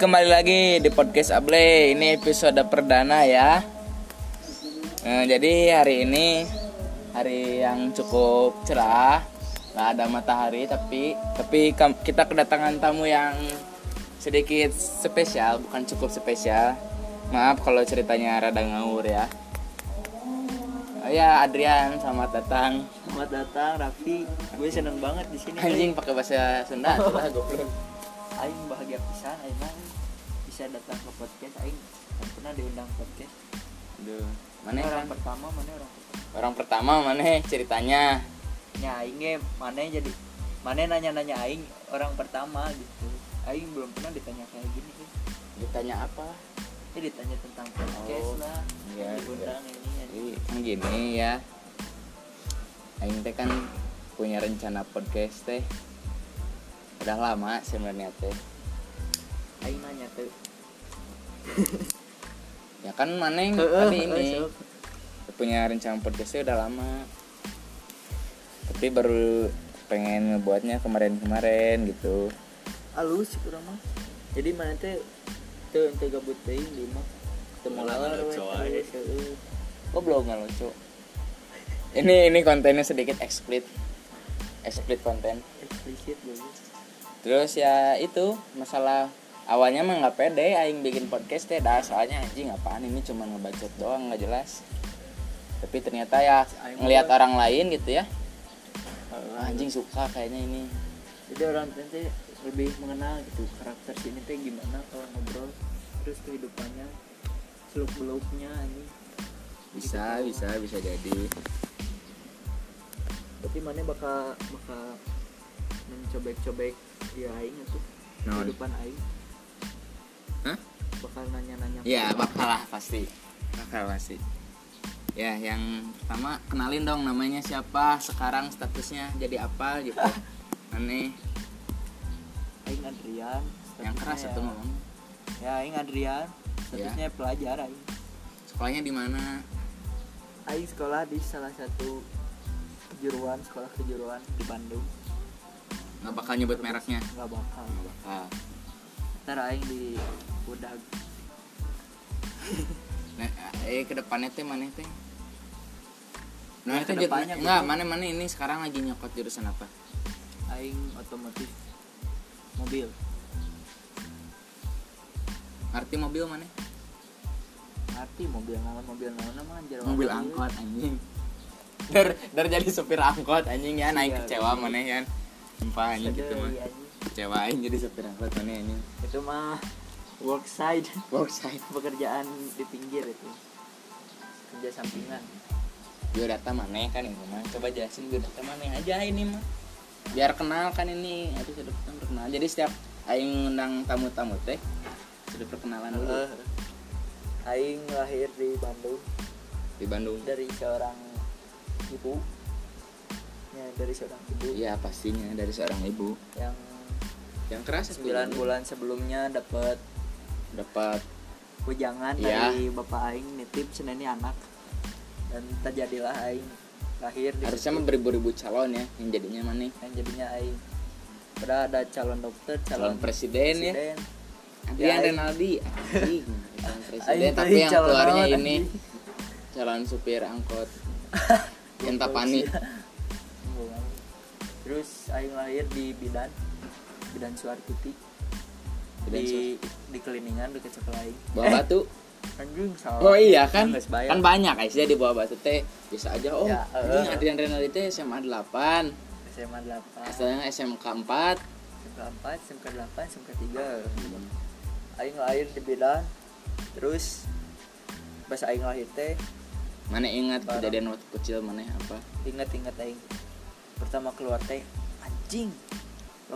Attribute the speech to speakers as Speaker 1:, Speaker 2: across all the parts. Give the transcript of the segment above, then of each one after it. Speaker 1: kembali lagi di podcast Able. Ini episode perdana ya. Nah, jadi hari ini hari yang cukup cerah, nggak ada matahari tapi tapi kam- kita kedatangan tamu yang sedikit spesial, bukan cukup spesial. Maaf kalau ceritanya rada ngawur ya. Oh ya Adrian, selamat datang.
Speaker 2: Selamat datang Raffi. Gue seneng banget di sini.
Speaker 1: Anjing pakai bahasa Sunda tuh lah goblok.
Speaker 2: Aing. Aing bahagia pisan, Aing mah bisa datang ke podcast Aing. nggak pernah diundang podcast.
Speaker 1: Aduh, mana
Speaker 2: orang
Speaker 1: orang,
Speaker 2: pertama, mana orang pertama?
Speaker 1: orang pertama mana ceritanya?
Speaker 2: Ya Aing ge, mana yang jadi mana yang nanya-nanya Aing orang pertama gitu. Aing belum pernah ditanya kayak gini kan.
Speaker 1: Ditanya apa?
Speaker 2: Ya ditanya tentang podcast
Speaker 1: Oh,
Speaker 2: lah.
Speaker 1: iya,
Speaker 2: diundang ini ini.
Speaker 1: Jadi kan gini ya. Aing teh kan punya rencana podcast teh. Udah lama sebenarnya teh.
Speaker 2: Aing nanya tuh.
Speaker 1: Ya kan
Speaker 2: Hmm,
Speaker 1: maneng tadi ini punya rencana podcastnya udah lama. Tapi baru pengen ngebuatnya kemarin-kemarin gitu.
Speaker 2: Alus kurang mah. Jadi mana teh tuh ente gabut teuing di mah.
Speaker 1: Ulah
Speaker 2: Temu lawan,
Speaker 1: ngalucu
Speaker 2: we,
Speaker 1: wae.
Speaker 2: alus, heueuh.
Speaker 1: Kok Oh, belum nggak lucu? Ini ini kontennya sedikit explicit. Explicit konten.
Speaker 2: eksplisit dulu
Speaker 1: Terus ya itu masalah awalnya mah nggak pede aing bikin podcast teh dah soalnya anjing apaan ini cuma ngebacot doang nggak jelas. Tapi ternyata ya
Speaker 2: Aing
Speaker 1: ngelihat
Speaker 2: mah-
Speaker 1: orang lain gitu ya. "Wah, anjing suka kayaknya ini.
Speaker 2: jadi orang nanti lebih mengenal gitu karakter sini teh gimana kalau ngobrol terus kehidupannya seluk beluknya ini
Speaker 1: Bisa, bisa, bisa jadi.
Speaker 2: tapi mana bakal bakal mencobek cobek dia aing tuh
Speaker 1: Naon?
Speaker 2: kehidupan aing
Speaker 1: Nah, Hah?
Speaker 2: bakal nanya nanya
Speaker 1: Ya, bakal lah pasti. Bakal pasti. Ya, yang pertama kenalin dong namanya siapa, sekarang statusnya jadi apa gitu. Aneh,
Speaker 2: aing Adrian
Speaker 1: yang
Speaker 2: statusnya
Speaker 1: keras
Speaker 2: ya,
Speaker 1: atau ngomong.
Speaker 2: ya aing Adrian statusnya
Speaker 1: Iya.
Speaker 2: pelajar aing
Speaker 1: Sekolahnya di mana?
Speaker 2: aing sekolah di salah satu kejuruan sekolah kejuruan di Bandung
Speaker 1: Nggak bakal nyebut mereknya.
Speaker 2: nggak bakal
Speaker 1: Nggak bakal.
Speaker 2: ntar aing di udah
Speaker 1: Nah, eh ke depannya teh mana teh? Nah,
Speaker 2: Ya,
Speaker 1: itu
Speaker 2: ke
Speaker 1: jut-
Speaker 2: depannya
Speaker 1: enggak,
Speaker 2: gitu.
Speaker 1: mana mana ini sekarang lagi nyokot jurusan apa?
Speaker 2: aing otomotif mobil
Speaker 1: Ngerti mobil mana?
Speaker 2: arti mobil naon mobil naon mah anjir
Speaker 1: Mobil
Speaker 2: wae.
Speaker 1: angkot anjing. Dar dar jadi sopir angkot anjing ya, naik
Speaker 2: Iya,
Speaker 1: kecewa
Speaker 2: iya.
Speaker 1: mana ya. Sumpah anjing
Speaker 2: Aduh,
Speaker 1: gitu mah.
Speaker 2: iya, anjing.
Speaker 1: Kecewa anjing jadi sopir angkot mana anjing.
Speaker 2: itu mah work side
Speaker 1: Worksite.
Speaker 2: pekerjaan di pinggir itu kerja sampingan
Speaker 1: Biodata mana kan ini mah. Coba jelasin biodata mana aja ini mah. Biar kenal kan ini episode pertama perkenalan. Jadi setiap aing ngundang tamu-tamu teh sudah perkenalan dulu
Speaker 2: Eh, aing lahir di Bandung
Speaker 1: di Bandung.
Speaker 2: dari seorang ibu ya dari seorang ibu
Speaker 1: Iya pastinya dari seorang ibu
Speaker 2: yang
Speaker 1: yang keras
Speaker 2: 9 bulan sebelumnya dapat
Speaker 1: dapat
Speaker 2: wejangan
Speaker 1: Iya.
Speaker 2: dari bapak aing nitip seneni anak dan terjadilah aing lahir di
Speaker 1: harusnya
Speaker 2: situ.
Speaker 1: mah beribu-ribu calon ya yang jadinya mana
Speaker 2: yang jadinya aing udah ada calon dokter
Speaker 1: calon
Speaker 2: calon,
Speaker 1: presiden ya
Speaker 2: presiden.
Speaker 1: Adrian
Speaker 2: Aing.
Speaker 1: Renaldi anjing. calon presiden
Speaker 2: Aing
Speaker 1: tapi
Speaker 2: tadi
Speaker 1: yang
Speaker 2: calon
Speaker 1: keluarnya
Speaker 2: naon,
Speaker 1: ini
Speaker 2: anjing.
Speaker 1: calon supir angkot yang tapani
Speaker 2: Iya. Bukan. terus aing lahir di bidan bidan suartiti
Speaker 1: Bidan
Speaker 2: di di keliningan dekat sekolah aing
Speaker 1: bawa batu
Speaker 2: anjing salah
Speaker 1: oh iya kan
Speaker 2: Nggak sebayang.
Speaker 1: kan banyak guys ya di bawah batu teh bisa aja oh
Speaker 2: Ya,
Speaker 1: ini
Speaker 2: eh.
Speaker 1: Adrian Renaldi teh SMA 8
Speaker 2: SMA 8
Speaker 1: asalnya SMK 4
Speaker 2: SMK 4 SMK 8 SMK 3 aing lahir di bidan terus pas aing lahir teh
Speaker 1: mana ingat
Speaker 2: Barang.
Speaker 1: kejadian waktu kecil mana apa
Speaker 2: inget-inget aing pertama keluar teh anjing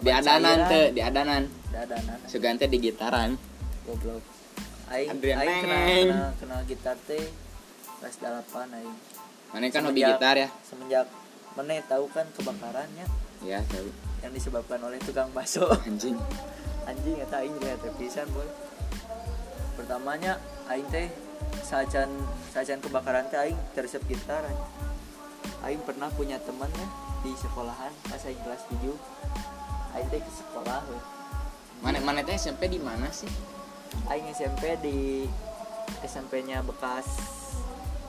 Speaker 1: di adanan teh di adanan
Speaker 2: di adanan
Speaker 1: Sugante di gitaran
Speaker 2: goblok aing
Speaker 1: Adrian
Speaker 2: aing kenal,
Speaker 1: Neng.
Speaker 2: kenal, kenal gitar teh kelas 8 aing
Speaker 1: Mana kan hobi
Speaker 2: Semenjak-
Speaker 1: gitar ya
Speaker 2: semenjak mana tahu kan kebakarannya
Speaker 1: Ya tahu
Speaker 2: yang disebabkan oleh tukang bakso
Speaker 1: Anjing
Speaker 2: anjing eta aing juga teh pisan boy pertamanya aing teh sajan sajan kebakaran teh aing tersep gitar anjing. aing pernah punya ya, temannya di sekolahan pas aing kelas 7 aing teh ke sekolah we.
Speaker 1: mana mana teh SMP di mana sih
Speaker 2: aing SMP di SMP-nya bekas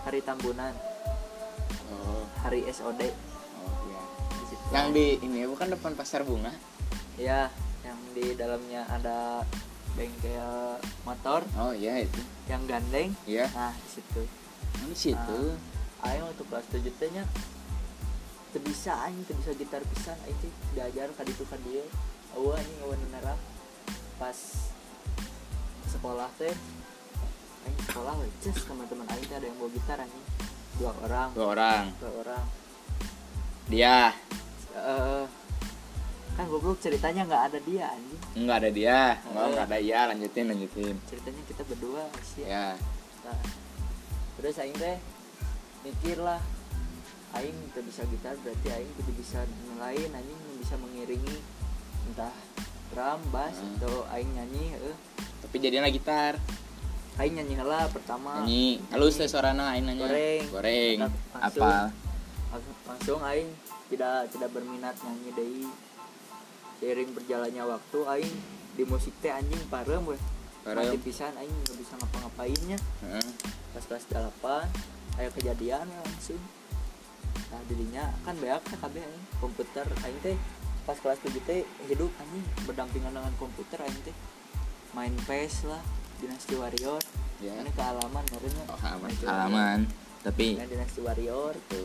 Speaker 2: Hari Tambunan,
Speaker 1: oh,
Speaker 2: Hari SOD
Speaker 1: oh iya
Speaker 2: di situ.
Speaker 1: yang di ini ya, bukan depan pasar bunga
Speaker 2: ya yang di dalamnya ada bengkel motor
Speaker 1: oh iya itu
Speaker 2: yang gandeng.
Speaker 1: iya
Speaker 2: Nah, di situ.
Speaker 1: oh, di situ
Speaker 2: Aing waktu kelas 7 teh nya teu bisa aing teu bisa gitar pisan aing teh diajar ka ditu ka dieu. Eueuh anjing eueuh nerah. Pas sekolah teh aing sekolah we cus teman-teman aing teh ada yang bawa gitar anjing. Dua orang,
Speaker 1: dua orang
Speaker 2: dua orang.
Speaker 1: dia
Speaker 2: Eh kan goblok ceritanya nggak ada dia anjing.
Speaker 1: nggak ada dia nggak
Speaker 2: Oh.
Speaker 1: nggak ada ya lanjutin lanjutin
Speaker 2: Ceritanya kita berdua sih.
Speaker 1: ya
Speaker 2: Nah, terus aing teh mikir lah aing teu bisa gitar berarti aing kudu bisa nu lain anjing nu bisa mengiringi entah drum bass
Speaker 1: Hmm.
Speaker 2: atau aing nyanyi heuh.
Speaker 1: tapi jadinya gitar
Speaker 2: aing nyanyi heula pertama
Speaker 1: Ah. nyanyi halus teh suarana aing nanya
Speaker 2: Goreng.
Speaker 1: goreng
Speaker 2: Langsung.
Speaker 1: apa
Speaker 2: Lang- langsung aing tidak tidak berminat nyanyi deui seiring berjalannya waktu aing di musik teh anjing parem weh
Speaker 1: Parem.
Speaker 2: mati pisan aing nggak bisa ngapa-ngapainnya
Speaker 1: Heeh.
Speaker 2: pas kelas 8 ayo kejadian ya langsung nah dirinya kan banyak ya KB aing. komputer aing teh pas kelas 7 teh hidup anjing berdampingan dengan komputer aing teh main PES lah Dynasty Warrior
Speaker 1: Ya.
Speaker 2: ini ke halaman barunya
Speaker 1: oh, halaman
Speaker 2: Main
Speaker 1: halaman tapi
Speaker 2: main Dynasty Warrior
Speaker 1: tuh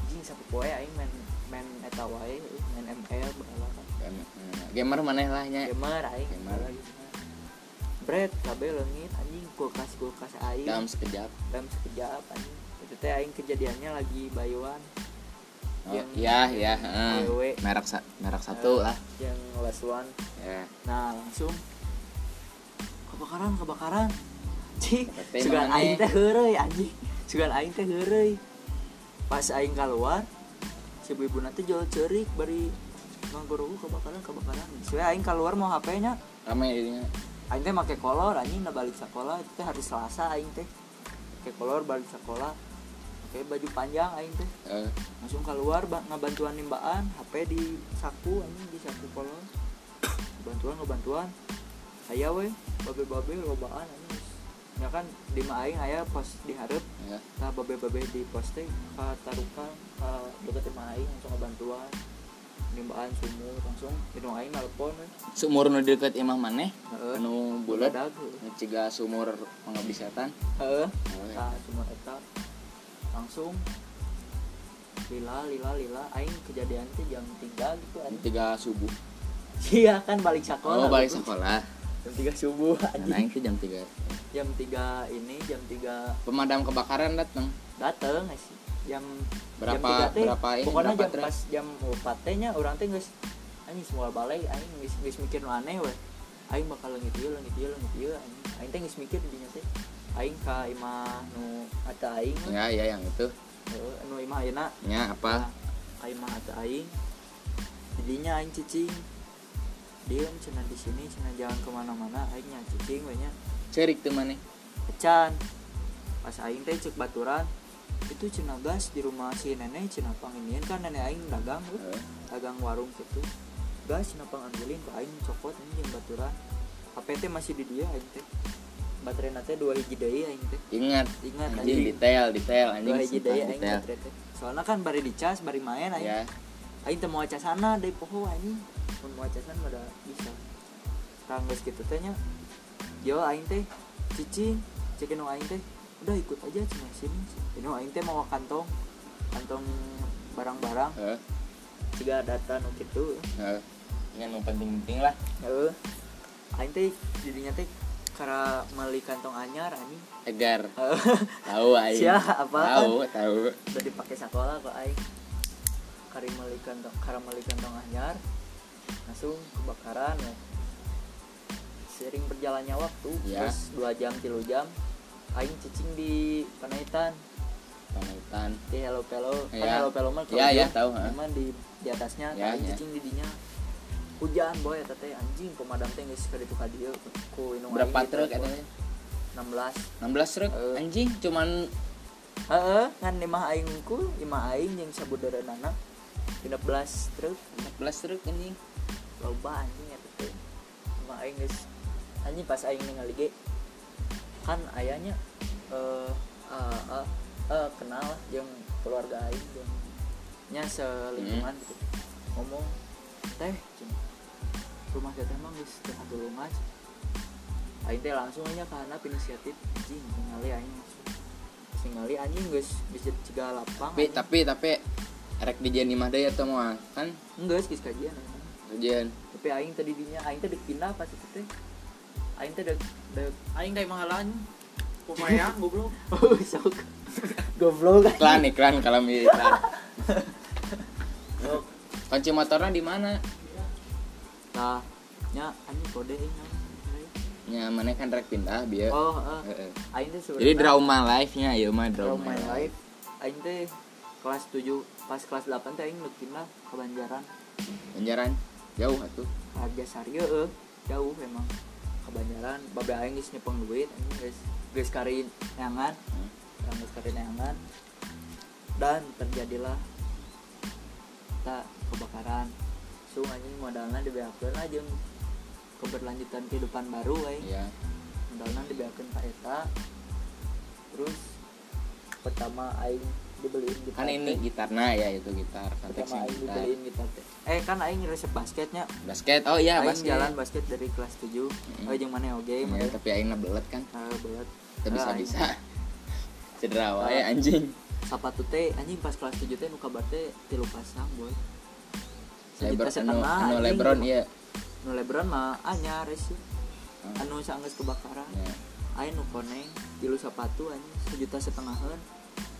Speaker 2: anjing sapu poe aing main main eta wae euy, main ML bahala kan
Speaker 1: gamer- eh, gamer mana lah nya
Speaker 2: gamer aing
Speaker 1: Gamer.
Speaker 2: lagi bread KB leungit anjing kulkas kulkas aing
Speaker 1: dalam sekejap
Speaker 2: dalam sekejap anjing itu teh aing kejadiannya lagi bayuan
Speaker 1: oh
Speaker 2: Yang-
Speaker 1: iya iya heeh.
Speaker 2: WW.
Speaker 1: merek sa- merek
Speaker 2: Iya.
Speaker 1: satu lah
Speaker 2: eh, yang last one
Speaker 1: ya
Speaker 2: nah langsung kebakaran kebakaran cih
Speaker 1: Tapi
Speaker 2: sugan
Speaker 1: mana
Speaker 2: aing
Speaker 1: nih?
Speaker 2: teh heureuy anjing sugan aing teh heureuy pas aing keluar si ibu nanti jual cerik bari ngaguru kebakaran kebakaran sesuai aing keluar mau hpnya
Speaker 1: ramai jadinya
Speaker 2: aing teh make kolor anjing na balik sekolah itu teh hari selasa aing teh make kolor balik sekolah pakai baju panjang aing teh
Speaker 1: Eh,
Speaker 2: langsung keluar ba- ngabantuan nimbaan HP di saku anjing di saku kolong bantuan ngebantuan aya we babe babe lobaan anjing ya kan di mah aing aya pos diharap
Speaker 1: ya.
Speaker 2: nah babe babe di pos teh ka tarukan ka deket di mah aing langsung ngebantuan nimbaan sumur langsung hidung aing nelpon we
Speaker 1: sumur nu deket imah maneh
Speaker 2: Heeh.
Speaker 1: anu bulat
Speaker 2: Budak, heeh.
Speaker 1: mencegah sumur pengabdi setan
Speaker 2: heeh
Speaker 1: Heeh.
Speaker 2: nah sumur eta langsung lila lila lila aing kejadian teh jam 3 gitu
Speaker 1: Jam
Speaker 2: anjing
Speaker 1: tiga subuh
Speaker 2: Iya kan balik
Speaker 1: oh
Speaker 2: sekolah.
Speaker 1: balik
Speaker 2: gitu.
Speaker 1: sekolah
Speaker 2: Jam 3 subuh
Speaker 1: nah
Speaker 2: anjing.
Speaker 1: aing teh jam tiga
Speaker 2: Jam 3 ini jam 3
Speaker 1: pemadam kebakaran datang
Speaker 2: dateng nggak sih. Jam
Speaker 1: Berapa-
Speaker 2: jam 3 teh,
Speaker 1: berapa ini,
Speaker 2: Pokoknya
Speaker 1: berapa
Speaker 2: jam
Speaker 1: trek?
Speaker 2: pas jam 4 teh nya urang teh geus anjing semua balai anjing geus geus mikir nu aneh we. Aing bakal leungit ieu leungit ieu leungit ieu anjing. Aing teh geus mikir di dinya teh. Aing ka imah nu ata aing. we.
Speaker 1: ya Ah. ya yang itu
Speaker 2: Heueuh, Nu imah ayeuna
Speaker 1: ya apa
Speaker 2: aing mah atuh aing jadinya aing cicing diem cina di sini cina jangan kemana-mana aingnya cicing banyak
Speaker 1: cerik tuh maneh
Speaker 2: pecan pas aing teh cek baturan itu cina gas di rumah si nenek cina panginian kan nenek aing dagang lu
Speaker 1: Heeh.
Speaker 2: dagang warung gitu gas cina panganggulin ke aing copot ini jeung baturan hp teh masih di dia aing teh baterai nate dua hiji deui aing teh
Speaker 1: ingat
Speaker 2: Ingat,
Speaker 1: anjing
Speaker 2: anjing.
Speaker 1: detail detail anjing
Speaker 2: dua hiji
Speaker 1: sumpah,
Speaker 2: deui aing
Speaker 1: detail
Speaker 2: baterai teh soalnya kan bari dicas bari main aing
Speaker 1: ya
Speaker 2: Aing teu mau acasana deui poho anjing. Mun mau acasan mah da bisa. Tang geus kitu teh nya. Yo aing teh cicing, cekin nu aing teh. Udah ikut aja cina sini. Ini aing teh mau kantong. Kantong barang-barang
Speaker 1: Heeh.
Speaker 2: ciga data nu kitu.
Speaker 1: Heeh. Ingat yang penting-penting lah
Speaker 2: Heeh. Aing teh jadinya teh kara meuli kantong anyar anjing.
Speaker 1: agar
Speaker 2: Heeh.
Speaker 1: tahu aing
Speaker 2: Sia, apaan?
Speaker 1: tahu tahu
Speaker 2: udah dipakai sekolah kok aing kari meuli kantong kara meuli kantong anyar langsung kebakaran we. sering berjalannya waktu
Speaker 1: Ya.
Speaker 2: terus dua jam tilu jam aing cicing di panaitan
Speaker 1: pamitan
Speaker 2: di hello pelo kan
Speaker 1: Ya.
Speaker 2: hello pelo mah
Speaker 1: Ya, ya,
Speaker 2: kelojong.
Speaker 1: tahu, ha.
Speaker 2: cuman di di atasnya
Speaker 1: Ya,
Speaker 2: aing
Speaker 1: ya.
Speaker 2: cicing di dinya hujan boy eta teh anjing pemadam teh geus ka ditu ka dieu ku inung
Speaker 1: berapa
Speaker 2: aing di
Speaker 1: truk
Speaker 2: telepon.
Speaker 1: katanya
Speaker 2: 16
Speaker 1: 16 truk
Speaker 2: Heeh.
Speaker 1: anjing cuman
Speaker 2: Heeh, ngan imah aing ku, imah aing jeung sabudaranana 15 truk
Speaker 1: 16 truk anjing
Speaker 2: loba anjing eta teh. mah aing geus anjing pas aing ningali ge kan ayahnya eh eh, eh, eh, kenal lah jeung keluarga aing jeung nya selingkungan gitu ngomong teh cen, rumah teh emang geus teu katulungan cen." aing teh langsung aja karena inisiatif anjing ningali aing langsung ningali anjing geus bisa ciga lapang
Speaker 1: tapi tapi tapi rek dijen di mah deui eta mah kan
Speaker 2: enggak sih kajian anjing.
Speaker 1: dijen
Speaker 2: tapi aing tadi dinya aing teh deuk pindah pas itu teh aing teh deuk deuk
Speaker 3: Aing kayak mahalan Kumaya goblok
Speaker 2: oh sok goblok
Speaker 1: iklan iklan kalau mi iklan kunci motornya di mana
Speaker 2: nah nya anjing kode ini namanya.
Speaker 1: nya mana kan rek pindah bieu
Speaker 2: oh eh.
Speaker 1: Heeh.
Speaker 2: aing teh sebenarnya
Speaker 1: jadi draw my life nya ieu mah draw,
Speaker 2: Draw
Speaker 1: my,
Speaker 2: my
Speaker 1: life
Speaker 2: life aing teh kelas 7 pas kelas 8 teh aing deuk pindah ke Banjaran
Speaker 1: Banjaran jauh atuh
Speaker 2: Raja Sari eh jauh emang ke Banjaran babe aing geus nyepeng duit anjing guys guys kari neangan
Speaker 1: Hmm.
Speaker 2: rambut kari neangan dan terjadilah tak kebakaran so anjing modalnya dibeakeun lah jeung keberlanjutan kehidupan baru aing
Speaker 1: ya
Speaker 2: modalnya dibeakeun ka eta terus pertama aing dibeliin gitar
Speaker 1: kan
Speaker 2: teh.
Speaker 1: ini gitarna ya itu gitar
Speaker 2: pertama
Speaker 1: konteksnya
Speaker 2: aing
Speaker 1: gitar
Speaker 2: dibeliin gitar teh eh kan aing resep basketnya
Speaker 1: basket oh iya
Speaker 2: aing
Speaker 1: basket
Speaker 2: jalan basket dari kelas 7 oh jeung mana oge
Speaker 1: Ya,
Speaker 2: mana
Speaker 1: tapi aing belet kan
Speaker 2: Ah, belet
Speaker 1: teu bisa
Speaker 2: Ah, aing. Ah.
Speaker 1: bisa cedera wae anjing
Speaker 2: sepatu teh anjing pas kelas 7 teh nu kabar teh tilu pasang boy
Speaker 1: Lebron anu,
Speaker 2: Sejuta setengah,
Speaker 1: anu
Speaker 2: anjing.
Speaker 1: Lebron iya
Speaker 2: nu lebron mah anyar eh, sih
Speaker 1: Hmm.
Speaker 2: anu sanggeus kebakaran
Speaker 1: Ya.
Speaker 2: aing nu koneng tilu sepatu anjing sejuta setengahan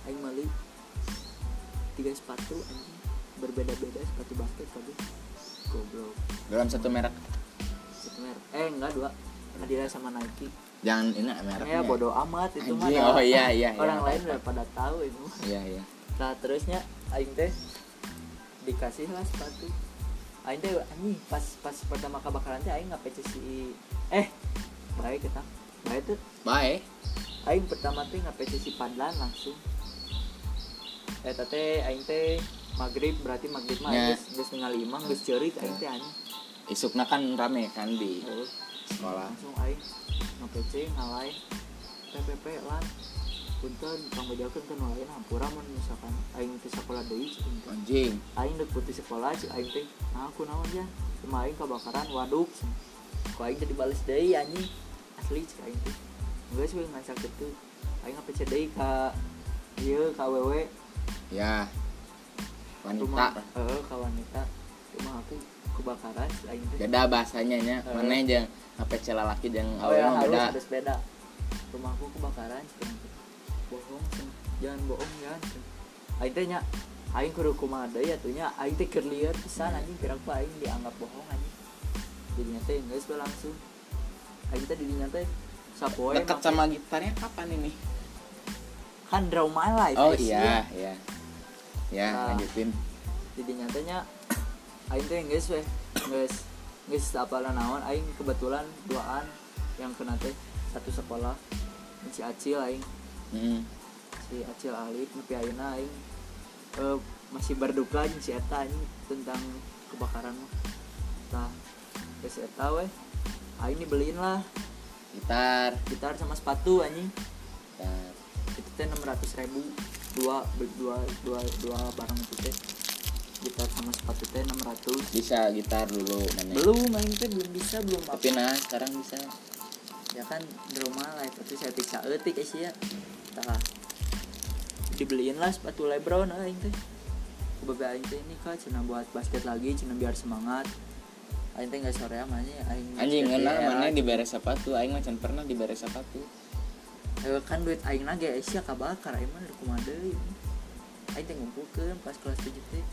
Speaker 2: aing meuli tiga sepatu anjing berbeda-beda sepatu basket kabeh goblok
Speaker 1: dalam satu merek
Speaker 2: satu merek eh enggak dua Adidas sama Nike
Speaker 1: jangan ini ah, mereknya
Speaker 2: ya bodo amat itu mah
Speaker 1: Anjing,
Speaker 2: ada-
Speaker 1: oh iya, iya,
Speaker 2: orang
Speaker 1: iya,
Speaker 2: lain
Speaker 1: apa-apa.
Speaker 2: udah pada tahu itu
Speaker 1: iya iya
Speaker 2: nah terusnya aing teh dikasih lah sepatu aing teh anjing pas pas pertama kebakaran teh aing ngapece si eh baik kita baik tuh
Speaker 1: bye
Speaker 2: aing pertama teh ngapece si padlan langsung eh teh aing teh maghrib berarti maghrib mah
Speaker 1: Ya.
Speaker 2: yeah. geus setengah lima geus cerit aing teh anjing
Speaker 1: isukna kan rame kan di
Speaker 2: Terus
Speaker 1: sekolah
Speaker 2: langsung aing nge-PC ngalai PPP lan punten kang bejakeun kan lain hampura mun misalkan aing teh sekolah deui cing teh.
Speaker 1: anjing
Speaker 2: aing deuk putih sekolah cing aing teh nah aku naon ya cuma aing kebakaran waduk cing ku aing jadi bales deui anjing asli cing aing teh geus we ngan sakit tuh aing nge-PC deui ka ieu ka wewe
Speaker 1: ya
Speaker 2: rumah
Speaker 1: wanita
Speaker 2: heeh ka wanita rumah aku kebakaran cing aing teh
Speaker 1: beda bahasanya nya
Speaker 2: Eh.
Speaker 1: mana yang apa celah laki yang
Speaker 2: Oh ya,
Speaker 1: awal mah beda
Speaker 2: harus harus beda. Rumahku kebakaran, cen. bohong, cen. jangan bohong ya. cen. Aing teh nya, aing kudu kumaha deui atuh nya, aing teh keur lieur pisan
Speaker 1: Hmm.
Speaker 2: anjing gerak pa aing dianggap bohong anjing. Jadinya teh geus bae langsung. Aing teh dirinya teh sapoe
Speaker 1: dekat
Speaker 2: make-
Speaker 1: sama gitarnya kapan ini
Speaker 2: kan draw my life.
Speaker 1: oh
Speaker 2: eh,
Speaker 1: iya iya ya
Speaker 2: Ah.
Speaker 1: lanjutin
Speaker 2: jadi nyatanya aing teh geus weh geus geus apalah naon aing kebetulan duaan yang kena teh satu sekolah si Acil aing
Speaker 1: Hmm.
Speaker 2: si Acil Alif nepi ayeuna aing eh, masih berduka jeung si eta anjing tentang kebakaran mah. Tah, geus eta we aing dibeliin lah
Speaker 1: gitar
Speaker 2: gitar sama sepatu anjing.
Speaker 1: gitar
Speaker 2: Itu teh 600 ribu dua be- dua dua dua barang itu teh. Gitar sama sepatu teh 600.
Speaker 1: bisa gitar dulu mana
Speaker 2: Belum aing teh belum bisa belum
Speaker 1: tapi nah sekarang bisa
Speaker 2: ya kan di rumah lah itu saya Eh, tiksa etik sih ya tah dibeliin lah sepatu Lebron eh, aing teh sebagai aing teh ini kak cina buat basket lagi cina biar semangat aing teh nggak sore aja aing
Speaker 1: anjing
Speaker 2: basket
Speaker 1: ngena
Speaker 2: di era.
Speaker 1: mana di beres sepatu aing macam pernah di beres sepatu
Speaker 2: Eh, kan duit aing nage Asia kabakar aing mah dari kumade aing teh ngumpulkeun pas kelas 7 teh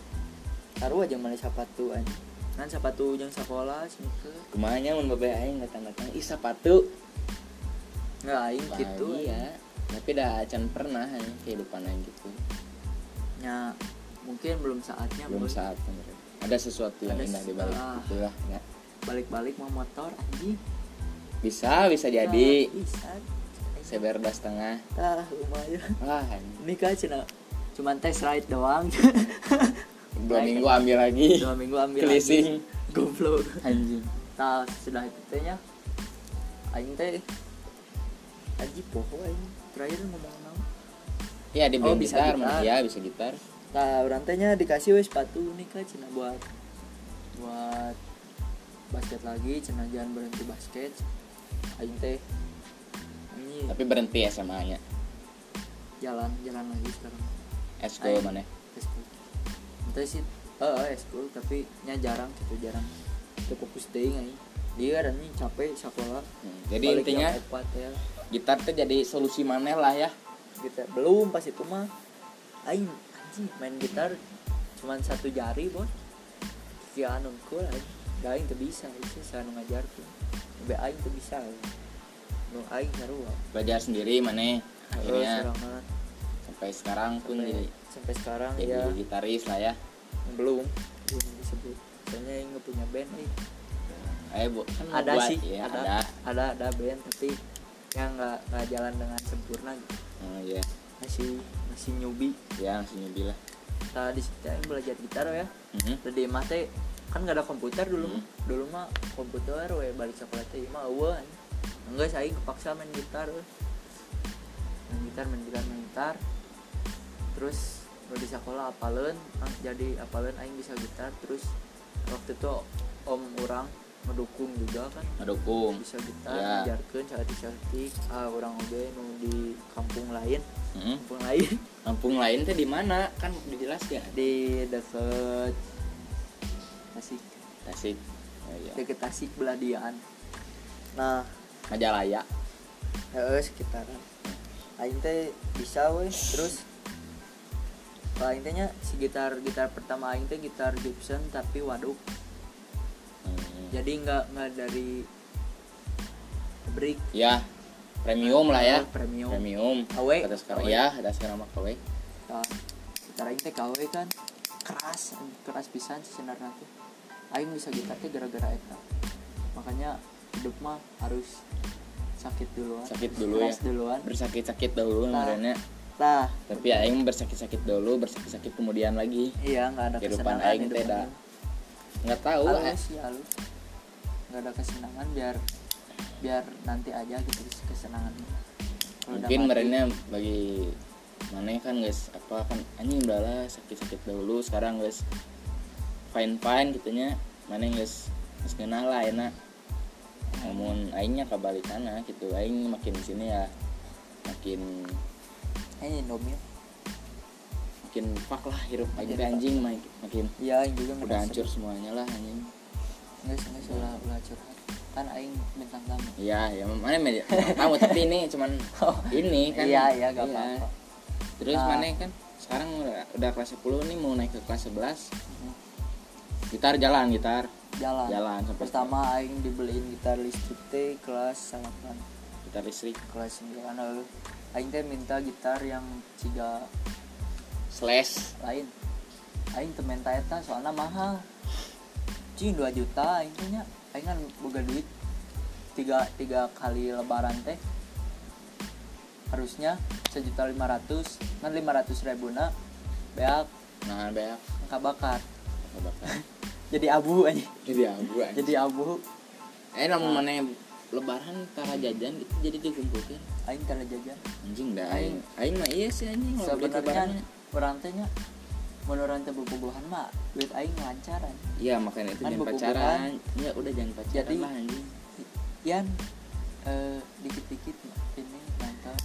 Speaker 2: taruh aja mana sepatu anjing kan sepatu yang sekolah sneaker
Speaker 1: kemana mun babe aing datang-datang ih sepatu
Speaker 2: nggak aing gitu
Speaker 1: gitu
Speaker 2: anjing.
Speaker 1: ya tapi dah acan pernah anjing kehidupan aing gitu
Speaker 2: nya mungkin belum saatnya
Speaker 1: belum
Speaker 2: Boy.
Speaker 1: saat menurut. ada sesuatu yang
Speaker 2: Ya Ada
Speaker 1: indah
Speaker 2: se-
Speaker 1: di balik
Speaker 2: ah.
Speaker 1: itulah ya.
Speaker 2: balik-balik mau motor anjing
Speaker 1: bisa bisa jadi
Speaker 2: bisa
Speaker 1: seber dua setengah
Speaker 2: ah lumayan
Speaker 1: wah anjing.
Speaker 2: ini kan cina cuman tes ride doang
Speaker 1: dua minggu ambil lagi
Speaker 2: dua minggu ambil lagi.
Speaker 1: Kelising.
Speaker 2: goblok
Speaker 1: anjing
Speaker 2: Nah, sudah itu teh nya aing teh aji poho aing terakhir ngomong naon?
Speaker 1: Iya di
Speaker 2: Oh,
Speaker 1: band
Speaker 2: bisa
Speaker 1: gitar,
Speaker 2: gitar.
Speaker 1: mah. Iya, bisa gitar.
Speaker 2: Nah, orang teh nya dikasih we sepatu nih ka cina buat buat basket lagi, cina jangan berhenti basket. Aing teh ini
Speaker 1: Tapi berhenti SMA-nya.
Speaker 2: jalan jalan lagi sekarang.
Speaker 1: Eskul
Speaker 2: Aing.
Speaker 1: mana?
Speaker 2: Eskul. Itu sih eh eh, eskul tapi nya jarang gitu jarang. Itu fokus teuing aing. Dia dan ini capek sekolah.
Speaker 1: Hmm, Jadi
Speaker 2: Balik
Speaker 1: intinya
Speaker 2: jam 4 ya.
Speaker 1: gitar tuh jadi solusi maneh lah ya.
Speaker 2: gitu belum pas itu mah aing anjing main gitar cuman satu jari bos si anu cool aing Gak aing tuh bisa itu saya nu ngajar tuh be aing tuh bisa aing. nu aing ngarua
Speaker 1: Belajar sendiri maneh.
Speaker 2: Terus
Speaker 1: Akhirnya
Speaker 2: sorangan
Speaker 1: sampai sekarang pun
Speaker 2: sampai,
Speaker 1: jadi
Speaker 2: sampai sekarang
Speaker 1: jadi
Speaker 2: ya
Speaker 1: gitaris lah ya.
Speaker 2: belum belum disebut soalnya aing nggak punya band aing.
Speaker 1: Eh, Bu, kan mau
Speaker 2: ada
Speaker 1: buat,
Speaker 2: sih
Speaker 1: ya,
Speaker 2: ada,
Speaker 1: ada.
Speaker 2: ada ada band tapi yang nggak nggak jalan dengan sempurna gitu.
Speaker 1: Oh iya.
Speaker 2: masih masih newbie
Speaker 1: Ya, langsung nyobi lah.
Speaker 2: tadi kita belajar gitar ya
Speaker 1: Mhm.
Speaker 2: Terus di mah teh kan gak ada komputer dulu mah.
Speaker 1: Hmm.
Speaker 2: Dulu mah komputer we balik sekolah teh mah eueuh. Enggak saya kepaksa main gitar. we. Main gitar, main gitar, main gitar. Terus nu di sekolah apaleun, ah, jadi apaleun aing bisa gitar terus waktu itu om orang mendukung juga kan
Speaker 1: Ngedukung.
Speaker 2: bisa gitar
Speaker 1: Ya.
Speaker 2: ngajarkeun saeutik saeutik ah orang oge nu di kampung lain
Speaker 1: Mhm.
Speaker 2: kampung lain
Speaker 1: Kampung lain tuh di mana? Kan dijelaskan.
Speaker 2: di deket Tasik
Speaker 1: Tasik. Oh, iya.
Speaker 2: deket Tasik Beladian. Nah,
Speaker 1: Majalaya.
Speaker 2: heeh sekitaran. Aing teh bisa weh, terus kalau aing teh nya si gitar gitar pertama aing teh gitar Gibson tapi waduk.
Speaker 1: Hmm.
Speaker 2: Jadi nggak nggak dari pabrik
Speaker 1: Ya, premium lah ya.
Speaker 2: Oh, premium.
Speaker 1: Premium.
Speaker 2: KW.
Speaker 1: Ada sekarang
Speaker 2: KW.
Speaker 1: ya, ada sekarang mah KW.
Speaker 2: Nah, gitar aing teh KW kan keras, keras pisan sih sebenarnya teh. Aing bisa gitar teh gara-gara eta. Makanya hidup mah harus sakit duluan.
Speaker 1: Sakit dulu ya.
Speaker 2: keras duluan.
Speaker 1: Bersakit-sakit dahulu
Speaker 2: Nah.
Speaker 1: kemarinnya.
Speaker 2: Nah,
Speaker 1: Tapi aing bersakit-sakit dahulu, bersakit-sakit kemudian lagi.
Speaker 2: Iya, nggak ada
Speaker 1: Kehidupan
Speaker 2: kesenangan.
Speaker 1: aing teh da. Nggak tahu
Speaker 2: Halus
Speaker 1: eh.
Speaker 2: ya, halus. Nggak ada kesenangan biar biar nanti aja gitu kesenangan. Kalau udah
Speaker 1: Mungkin
Speaker 2: mati,
Speaker 1: merenya bagi mana kan guys apa kan anjing udahlah sakit-sakit dahulu sekarang guys fine fine gitunya mana guys geus ngeunah lah enak namun aingnya kebalikannya gitu aing makin sini ya makin
Speaker 2: eh, ini domil.
Speaker 1: makin pak lah hirup aja
Speaker 2: Makin fuck.
Speaker 1: anjing makin, makin
Speaker 2: Iya, aing juga
Speaker 1: udah hancur semuanya lah anjing
Speaker 2: Enggak, enggak salah ulah curhat. Kan aing bintang tamu.
Speaker 1: iya ya mana media tahu tapi ini cuman ini kan
Speaker 2: iya, iya, gak apa-apa.
Speaker 1: terus
Speaker 2: Nah.
Speaker 1: mana kan sekarang udah, udah kelas 10 nih mau naik ke kelas 11 gitar jalan gitar
Speaker 2: Mhm. Jalan.
Speaker 1: Jalan sampai
Speaker 2: Pertama aing dibeliin gitar listrik teh kelas 8,
Speaker 1: gitar listrik
Speaker 2: kelas 9 eueuh. Aing teh minta gitar yang ciga
Speaker 1: slash
Speaker 2: lain aing teu menta eta soalna mahal cing 2 juta aing teh nya aing kan boga duit tiga, tiga kali lebaran teh harusnya sejuta lima ratus kan lima ratus ribu na beak
Speaker 1: nah beak
Speaker 2: angka bakar
Speaker 1: apa bakal
Speaker 2: jadi abu aja
Speaker 1: jadi abu anjing.
Speaker 2: jadi abu Nah.
Speaker 1: eh namun mana lebaran tara jajan gitu jadi dikumpulkan
Speaker 2: aing tara jajan
Speaker 1: anjing dah aing aing mah iya sih anjing kalau beli
Speaker 2: sebenarnya
Speaker 1: lebaran
Speaker 2: orang teh nya mun urang teh bobogohan mah duit aing lancaran
Speaker 1: Iya makanya itu
Speaker 2: Kan
Speaker 1: jangan
Speaker 2: buku-buku
Speaker 1: pacaran. Ya udah jangan pacaran
Speaker 2: Jadi-
Speaker 1: lah anjing.
Speaker 2: Yan eh, dikit-dikit ini nonton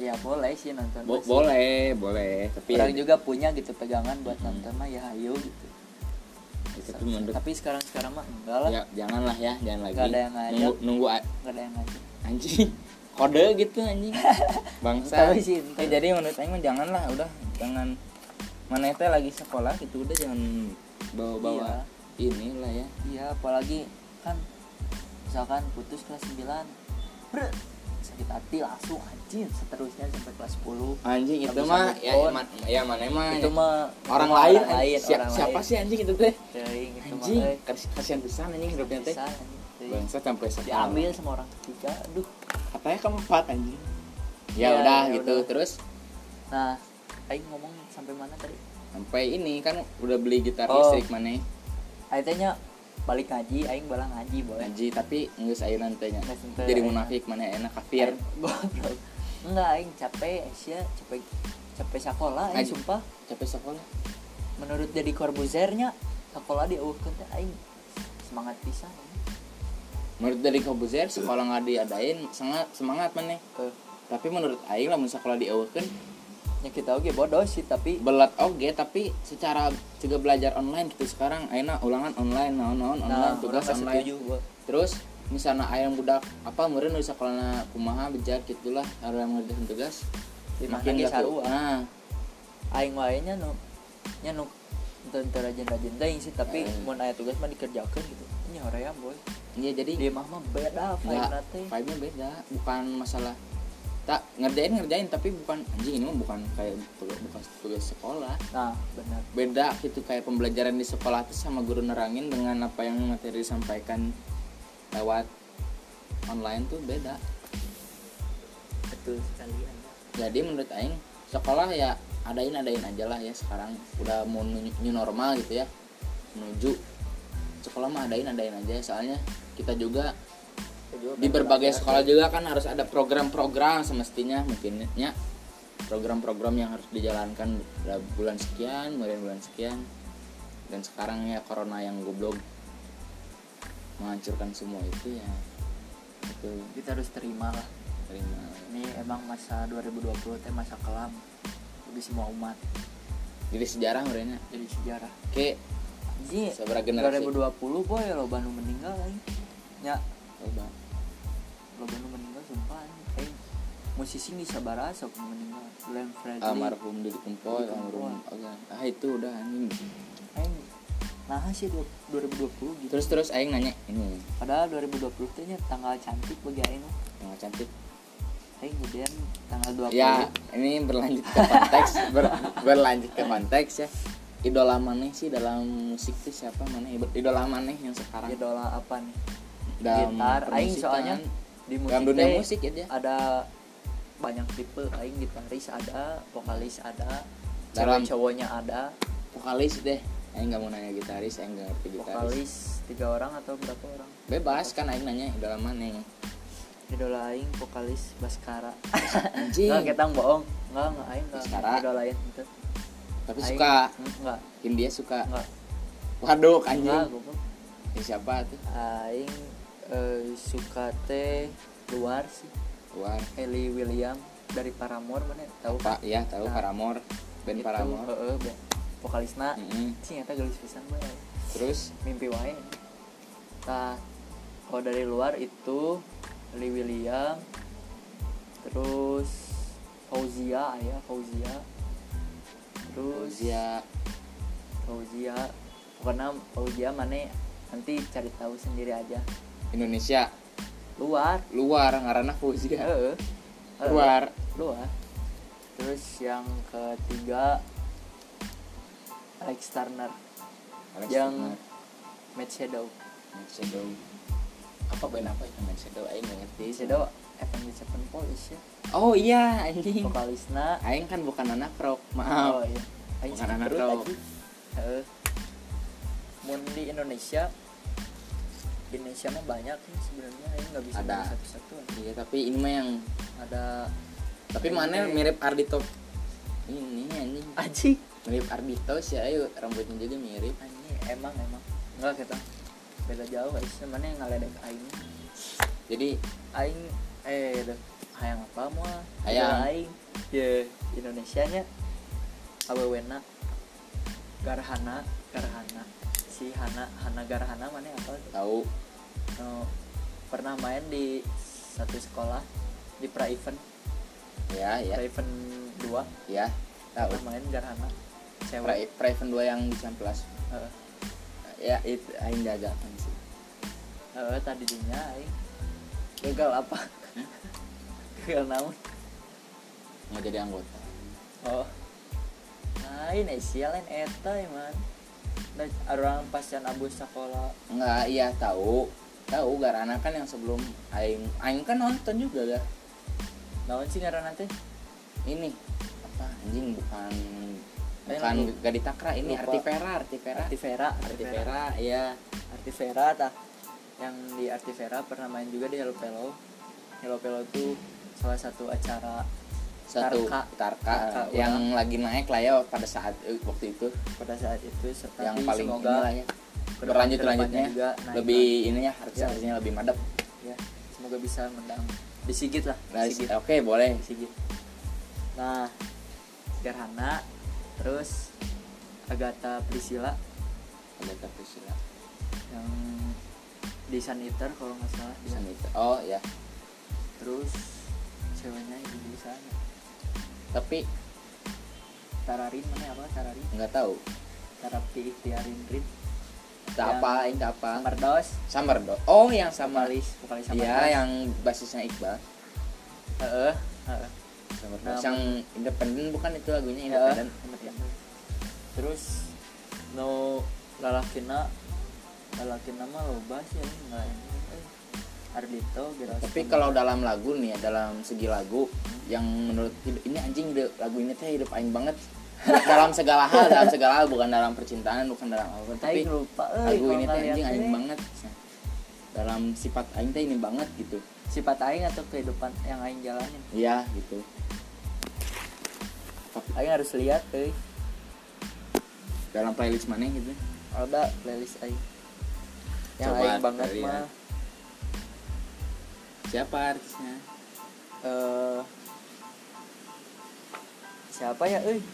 Speaker 2: ya boleh sih nonton
Speaker 1: Bo-
Speaker 2: Mas.
Speaker 1: boleh, boleh. Tapi
Speaker 2: orang
Speaker 1: ya,
Speaker 2: juga punya gitu pegangan buat
Speaker 1: Mhm.
Speaker 2: nonton mah ya hayu gitu
Speaker 1: ya, tapi menurut
Speaker 2: tapi sekarang sekarang mah enggak lah
Speaker 1: ya jangan lah ya, jangan lagi.
Speaker 2: Nggak ada yang ngajak.
Speaker 1: nunggu nunggu a-
Speaker 2: enggak ada yang ngajak
Speaker 1: anjing kode gitu anjing. Bangsa.
Speaker 2: Tapi sih
Speaker 1: Eh,
Speaker 2: jadi
Speaker 1: jadi menurut Aing mah jangan lah, udah jangan mana teh lagi sekolah gitu udah jangan bawa-bawa inilah ya.
Speaker 2: iya apalagi kan misalkan putus kelas 9 Brr, sakit hati langsung anjing seterusnya sampai kelas 10
Speaker 1: Anjing itu
Speaker 2: Nggak bisa
Speaker 1: mah
Speaker 2: move
Speaker 1: ya,
Speaker 2: on.
Speaker 1: ma- ya mana mah
Speaker 2: itu mah
Speaker 1: orang
Speaker 2: itu mah
Speaker 1: lain,
Speaker 2: orang lain
Speaker 1: anjing. Siap-
Speaker 2: orang
Speaker 1: siapa
Speaker 2: lain.
Speaker 1: sih anjing itu teh?
Speaker 2: Teuing, itu mah,
Speaker 1: Anjing,
Speaker 2: eh,
Speaker 1: kas- kasihan pisan anjing hidupnya teh.
Speaker 2: bisa, anjing, teuing.
Speaker 1: Bangsa sampai sekarang.
Speaker 2: diambil sama orang ketiga aduh
Speaker 1: katanya keempat anjing ya,
Speaker 2: Ya,
Speaker 1: udah
Speaker 2: ya
Speaker 1: gitu
Speaker 2: udah.
Speaker 1: terus
Speaker 2: nah Aing ngomong sampai mana tadi
Speaker 1: sampai ini kan udah beli gitar
Speaker 2: Oh.
Speaker 1: listrik mana
Speaker 2: Aing tanya balik ngaji aing bala ngaji boleh
Speaker 1: ngaji tapi nggak saya nantinya
Speaker 2: Nggak senteu,
Speaker 1: jadi
Speaker 2: aing.
Speaker 1: munafik mana enak kafir
Speaker 2: goblok enggak aing capek Asia capek capek sekolah aing
Speaker 1: Ngaji.
Speaker 2: sumpah
Speaker 1: capek sekolah
Speaker 2: menurut jadi korbuzernya sekolah di teh aing semangat pisan
Speaker 1: menurut dari Kobuzer sekolah nggak diadain sangat semangat mana
Speaker 2: ke
Speaker 1: tapi menurut Aing lamun sekolah diawakan
Speaker 2: ya kita oke bodoh sih tapi
Speaker 1: belat oge tapi secara juga belajar online gitu sekarang Aina ulangan online naon naon online tugas
Speaker 2: orang mah
Speaker 1: Nah, online
Speaker 2: setuju gua.
Speaker 1: terus misalnya ayam budak apa meureun di sekolah kumaha bejat gitu gitulah harus ngerjain tugas
Speaker 2: Di mana
Speaker 1: makin
Speaker 2: ge
Speaker 1: gak
Speaker 2: sarua.
Speaker 1: nah
Speaker 2: aing wainya nu nya nu tentara rajin-rajin teuing sih tapi
Speaker 1: Eh.
Speaker 2: mun aya tugas mah dikerjakan gitu nya hoream boy
Speaker 1: iya jadi
Speaker 2: di mah mah beda vibe-na
Speaker 1: nggak
Speaker 2: teh
Speaker 1: vibe-nya beda bukan masalah tak ngerjain ngerjain tapi bukan anjing ini mah bukan kayak bukan tugas sekolah
Speaker 2: nah benar
Speaker 1: beda gitu kayak pembelajaran di sekolah itu sama guru nerangin dengan apa yang materi disampaikan lewat online tuh beda
Speaker 2: betul sekali Anda.
Speaker 1: jadi menurut Aing sekolah ya adain adain aja lah ya sekarang udah mau nu- new normal gitu ya menuju sekolah mah adain adain aja soalnya kita juga
Speaker 2: Saya juga
Speaker 1: di
Speaker 2: pengen
Speaker 1: berbagai
Speaker 2: belajar.
Speaker 1: sekolah juga kan harus ada program-program semestinya mungkin ya program-program yang harus dijalankan dari bulan sekian kemudian bulan sekian dan sekarang ya corona yang goblok menghancurkan semua itu ya itu
Speaker 2: kita harus terima lah
Speaker 1: terima
Speaker 2: ini emang masa 2020 teh masa kelam bagi semua umat
Speaker 1: jadi sejarah merenya
Speaker 2: jadi sejarah
Speaker 1: oke
Speaker 2: Ji,
Speaker 1: Sabaraha generasi.
Speaker 2: 2020 boy lo Bandung meninggal aing. Ya,
Speaker 1: coba
Speaker 2: lo Bandung meninggal sumpah aing. Aing musisi nih sabaraha sok nu meninggal. Glenn Fredly.
Speaker 1: almarhum Didi Kempot
Speaker 2: Didi Kempot.
Speaker 1: almarhum Oga. ah itu udah anjing
Speaker 2: Aing eh. nah sih du- 2020 gitu.
Speaker 1: terus terus Aing nanya ini
Speaker 2: Padahal 2020 teh nya tanggal cantik bagi aing. mah.
Speaker 1: yang cantik
Speaker 2: Aing gedean tanggal 20.
Speaker 1: Ya, ini berlanjut ke konteks, ber- berlanjut ke konteks ya. Idola maneh sih dalam musik tuh siapa maneh? Idola maneh yang sekarang
Speaker 2: Idola Ya, apa nih?
Speaker 1: dalam
Speaker 2: gitar aing
Speaker 1: permusikan,
Speaker 2: soalnya di musik
Speaker 1: dalam dunia
Speaker 2: teh
Speaker 1: musik ya dia.
Speaker 2: ada banyak tipe aing gitaris ada vokalis ada
Speaker 1: Dalam-
Speaker 2: cewek cowoknya ada
Speaker 1: vokalis deh. Aing nggak mau nanya gitaris, aing nggak ngerti gitaris.
Speaker 2: vokalis tiga orang atau berapa orang
Speaker 1: Bebas kan aing nanya idola maneh.
Speaker 2: Oh, idola aing vokalis Baskara
Speaker 1: Anjing.
Speaker 2: nggak ketang bohong nggak nggak aing nggak
Speaker 1: Baskara.
Speaker 2: idola lain itu
Speaker 1: Tapi
Speaker 2: Aing-
Speaker 1: suka,
Speaker 2: Hmm, nggak
Speaker 1: mungkin dia suka.
Speaker 2: nggak
Speaker 1: Waduh,
Speaker 2: nggak
Speaker 1: anjing.
Speaker 2: goblok.
Speaker 1: Ya, siapa tuh?
Speaker 2: aing eh, suka teh luar sih
Speaker 1: Wah,
Speaker 2: Ellie William dari Paramore mana tahu
Speaker 1: Pak, ya tahu
Speaker 2: Nah.
Speaker 1: Paramore, band
Speaker 2: Itu,
Speaker 1: Paramore. Hmm.
Speaker 2: heeh, band. vokalisna
Speaker 1: Mm-mm.
Speaker 2: sih eta gelis pisan bae
Speaker 1: Terus
Speaker 2: mimpi wae tah kalau dari luar itu Lee William terus Fauzia ya Fauzia terus
Speaker 1: Zia
Speaker 2: Fauzia pokoknya Fauzia mana nanti cari tahu sendiri aja
Speaker 1: Indonesia
Speaker 2: luar
Speaker 1: luar ngaranna Fauzia.
Speaker 2: heeh Heeh.
Speaker 1: Iya.
Speaker 2: ya.
Speaker 1: Luar
Speaker 2: luar terus yang ketiga Alex Turner
Speaker 1: Alex
Speaker 2: eh, yang
Speaker 1: Turner.
Speaker 2: Mad Shadow
Speaker 1: Night Shadow apa band apa itu Night Shadow Aing nggak ngerti
Speaker 2: Mad Shadow FNB Sevenfold is ya
Speaker 1: oh iya anjing
Speaker 2: vokalisna
Speaker 1: Aing kan bukan anak rock
Speaker 2: oh
Speaker 1: maaf
Speaker 2: iya Aing
Speaker 1: Bukan
Speaker 2: sakit
Speaker 1: anak
Speaker 2: perut
Speaker 1: rock.
Speaker 2: lagi. Heeh. mun di Indonesia di Indonesia mah banyak nih sebenarnya Aing nggak bisa
Speaker 1: Ada.
Speaker 2: ada satu-satu
Speaker 1: iya tapi ini mah yang
Speaker 2: ada
Speaker 1: tapi
Speaker 2: Aing
Speaker 1: mana
Speaker 2: teh-
Speaker 1: mirip Ardito ini anjing
Speaker 2: Aji
Speaker 1: mirip Ardito sih ayo rambutnya juga mirip
Speaker 2: Anjing, emang emang enggak kita beda jauh Aisyah mana yang ngaledek Aing
Speaker 1: jadi
Speaker 2: aing eh deh hayang apa mah
Speaker 1: Hayang.
Speaker 2: Idola aing ya Indonesia nya awewena garhana garhana si hana hana garhana mana apa tuh?
Speaker 1: tahu
Speaker 2: No, Eh, pernah main di satu sekolah di pra event
Speaker 1: ya ya
Speaker 2: pra event dua
Speaker 1: ya tahu
Speaker 2: pernah main garhana
Speaker 1: pra, e-
Speaker 2: cewek Eh,
Speaker 1: pra event dua yang di Ciamplas
Speaker 2: Heeh.
Speaker 1: ya itu Aing dadakan sih
Speaker 2: Heeh, eh, tadi dinya aing gagal apa gagal naon
Speaker 1: mau jadi anggota
Speaker 2: Oh. Lain eh sialan eta iman. Da orang pasien abu sekolah.
Speaker 1: Enggak, iya tahu tahu Garana kan yang sebelum Aing Aing kan nonton juga gak
Speaker 2: Naon sih ngaranna teh?
Speaker 1: ini apa anjing bukan
Speaker 2: Eh,
Speaker 1: bukan
Speaker 2: lu-
Speaker 1: gak ditakra ini
Speaker 2: lupa.
Speaker 1: artifera artifera
Speaker 2: Artivera,
Speaker 1: artifera ya
Speaker 2: Artivera tah yang di Artivera pernah main juga di Hello Pelo Hello Pelo tuh salah satu acara
Speaker 1: satu
Speaker 2: Tarka.
Speaker 1: Tarka, eh,
Speaker 2: Tarka,
Speaker 1: yang lagi naik lah ya pada saat eh, waktu itu
Speaker 2: pada saat itu serta
Speaker 1: yang paling
Speaker 2: semoga
Speaker 1: inilah ya
Speaker 2: ke depan-
Speaker 1: berlanjut
Speaker 2: ke depannya
Speaker 1: lanjutnya
Speaker 2: juga Nah, naik
Speaker 1: lebih ini ya harus
Speaker 2: Ya.
Speaker 1: harusnya lebih madep
Speaker 2: lagi. ya semoga bisa mendang disigit lah
Speaker 1: Nah,
Speaker 2: disigit
Speaker 1: oke boleh
Speaker 2: disigit nah Gerhana terus Agatha Priscilla
Speaker 1: Agatha Priscilla.
Speaker 2: yang di Saniter kalau nggak salah dia.
Speaker 1: Sanita. oh ya
Speaker 2: terus ceweknya itu di sana
Speaker 1: tapi
Speaker 2: Tararin mana apa Tararin
Speaker 1: nggak tahu
Speaker 2: Tarapti Ikhtiarin Rin
Speaker 1: tak
Speaker 2: Yang-
Speaker 1: apa ini tak apa
Speaker 2: Merdos
Speaker 1: Summer Do- oh yang sama
Speaker 2: Samalis vokalis sama
Speaker 1: Iya, yang basisnya Iqbal.
Speaker 2: heeh heeh
Speaker 1: Summer Do-
Speaker 2: Nama.
Speaker 1: Yang independen bukan itu lagunya
Speaker 2: Heeh.
Speaker 1: independen.
Speaker 2: ya. terus no lalakina lalakina mah loba sih ini enggak ini eh, Ardito Gerasmo
Speaker 1: Tapi kalau dalam lagu nih, ya, dalam segi lagu yang menurut hidup- ini anjing hidup, lagu ini teh hidup aing banget. dalam segala hal, dalam segala hal bukan dalam percintaan, bukan dalam apa,
Speaker 2: Aing
Speaker 1: tapi
Speaker 2: lupa euy,
Speaker 1: lagu
Speaker 2: kalau
Speaker 1: ini teh
Speaker 2: ngeliat
Speaker 1: anjing aing
Speaker 2: teh.
Speaker 1: banget. Dalam sifat aing teh ini banget gitu.
Speaker 2: sifat aing atau kehidupan yang aing jalanin
Speaker 1: Iya, gitu.
Speaker 2: aing harus lihat euy
Speaker 1: Dalam playlist mana gitu.
Speaker 2: ada playlist aing yang
Speaker 1: Coba
Speaker 2: aing banget
Speaker 1: lihat.
Speaker 2: mah
Speaker 1: Siapa artisnya?
Speaker 2: eh siapa ya euy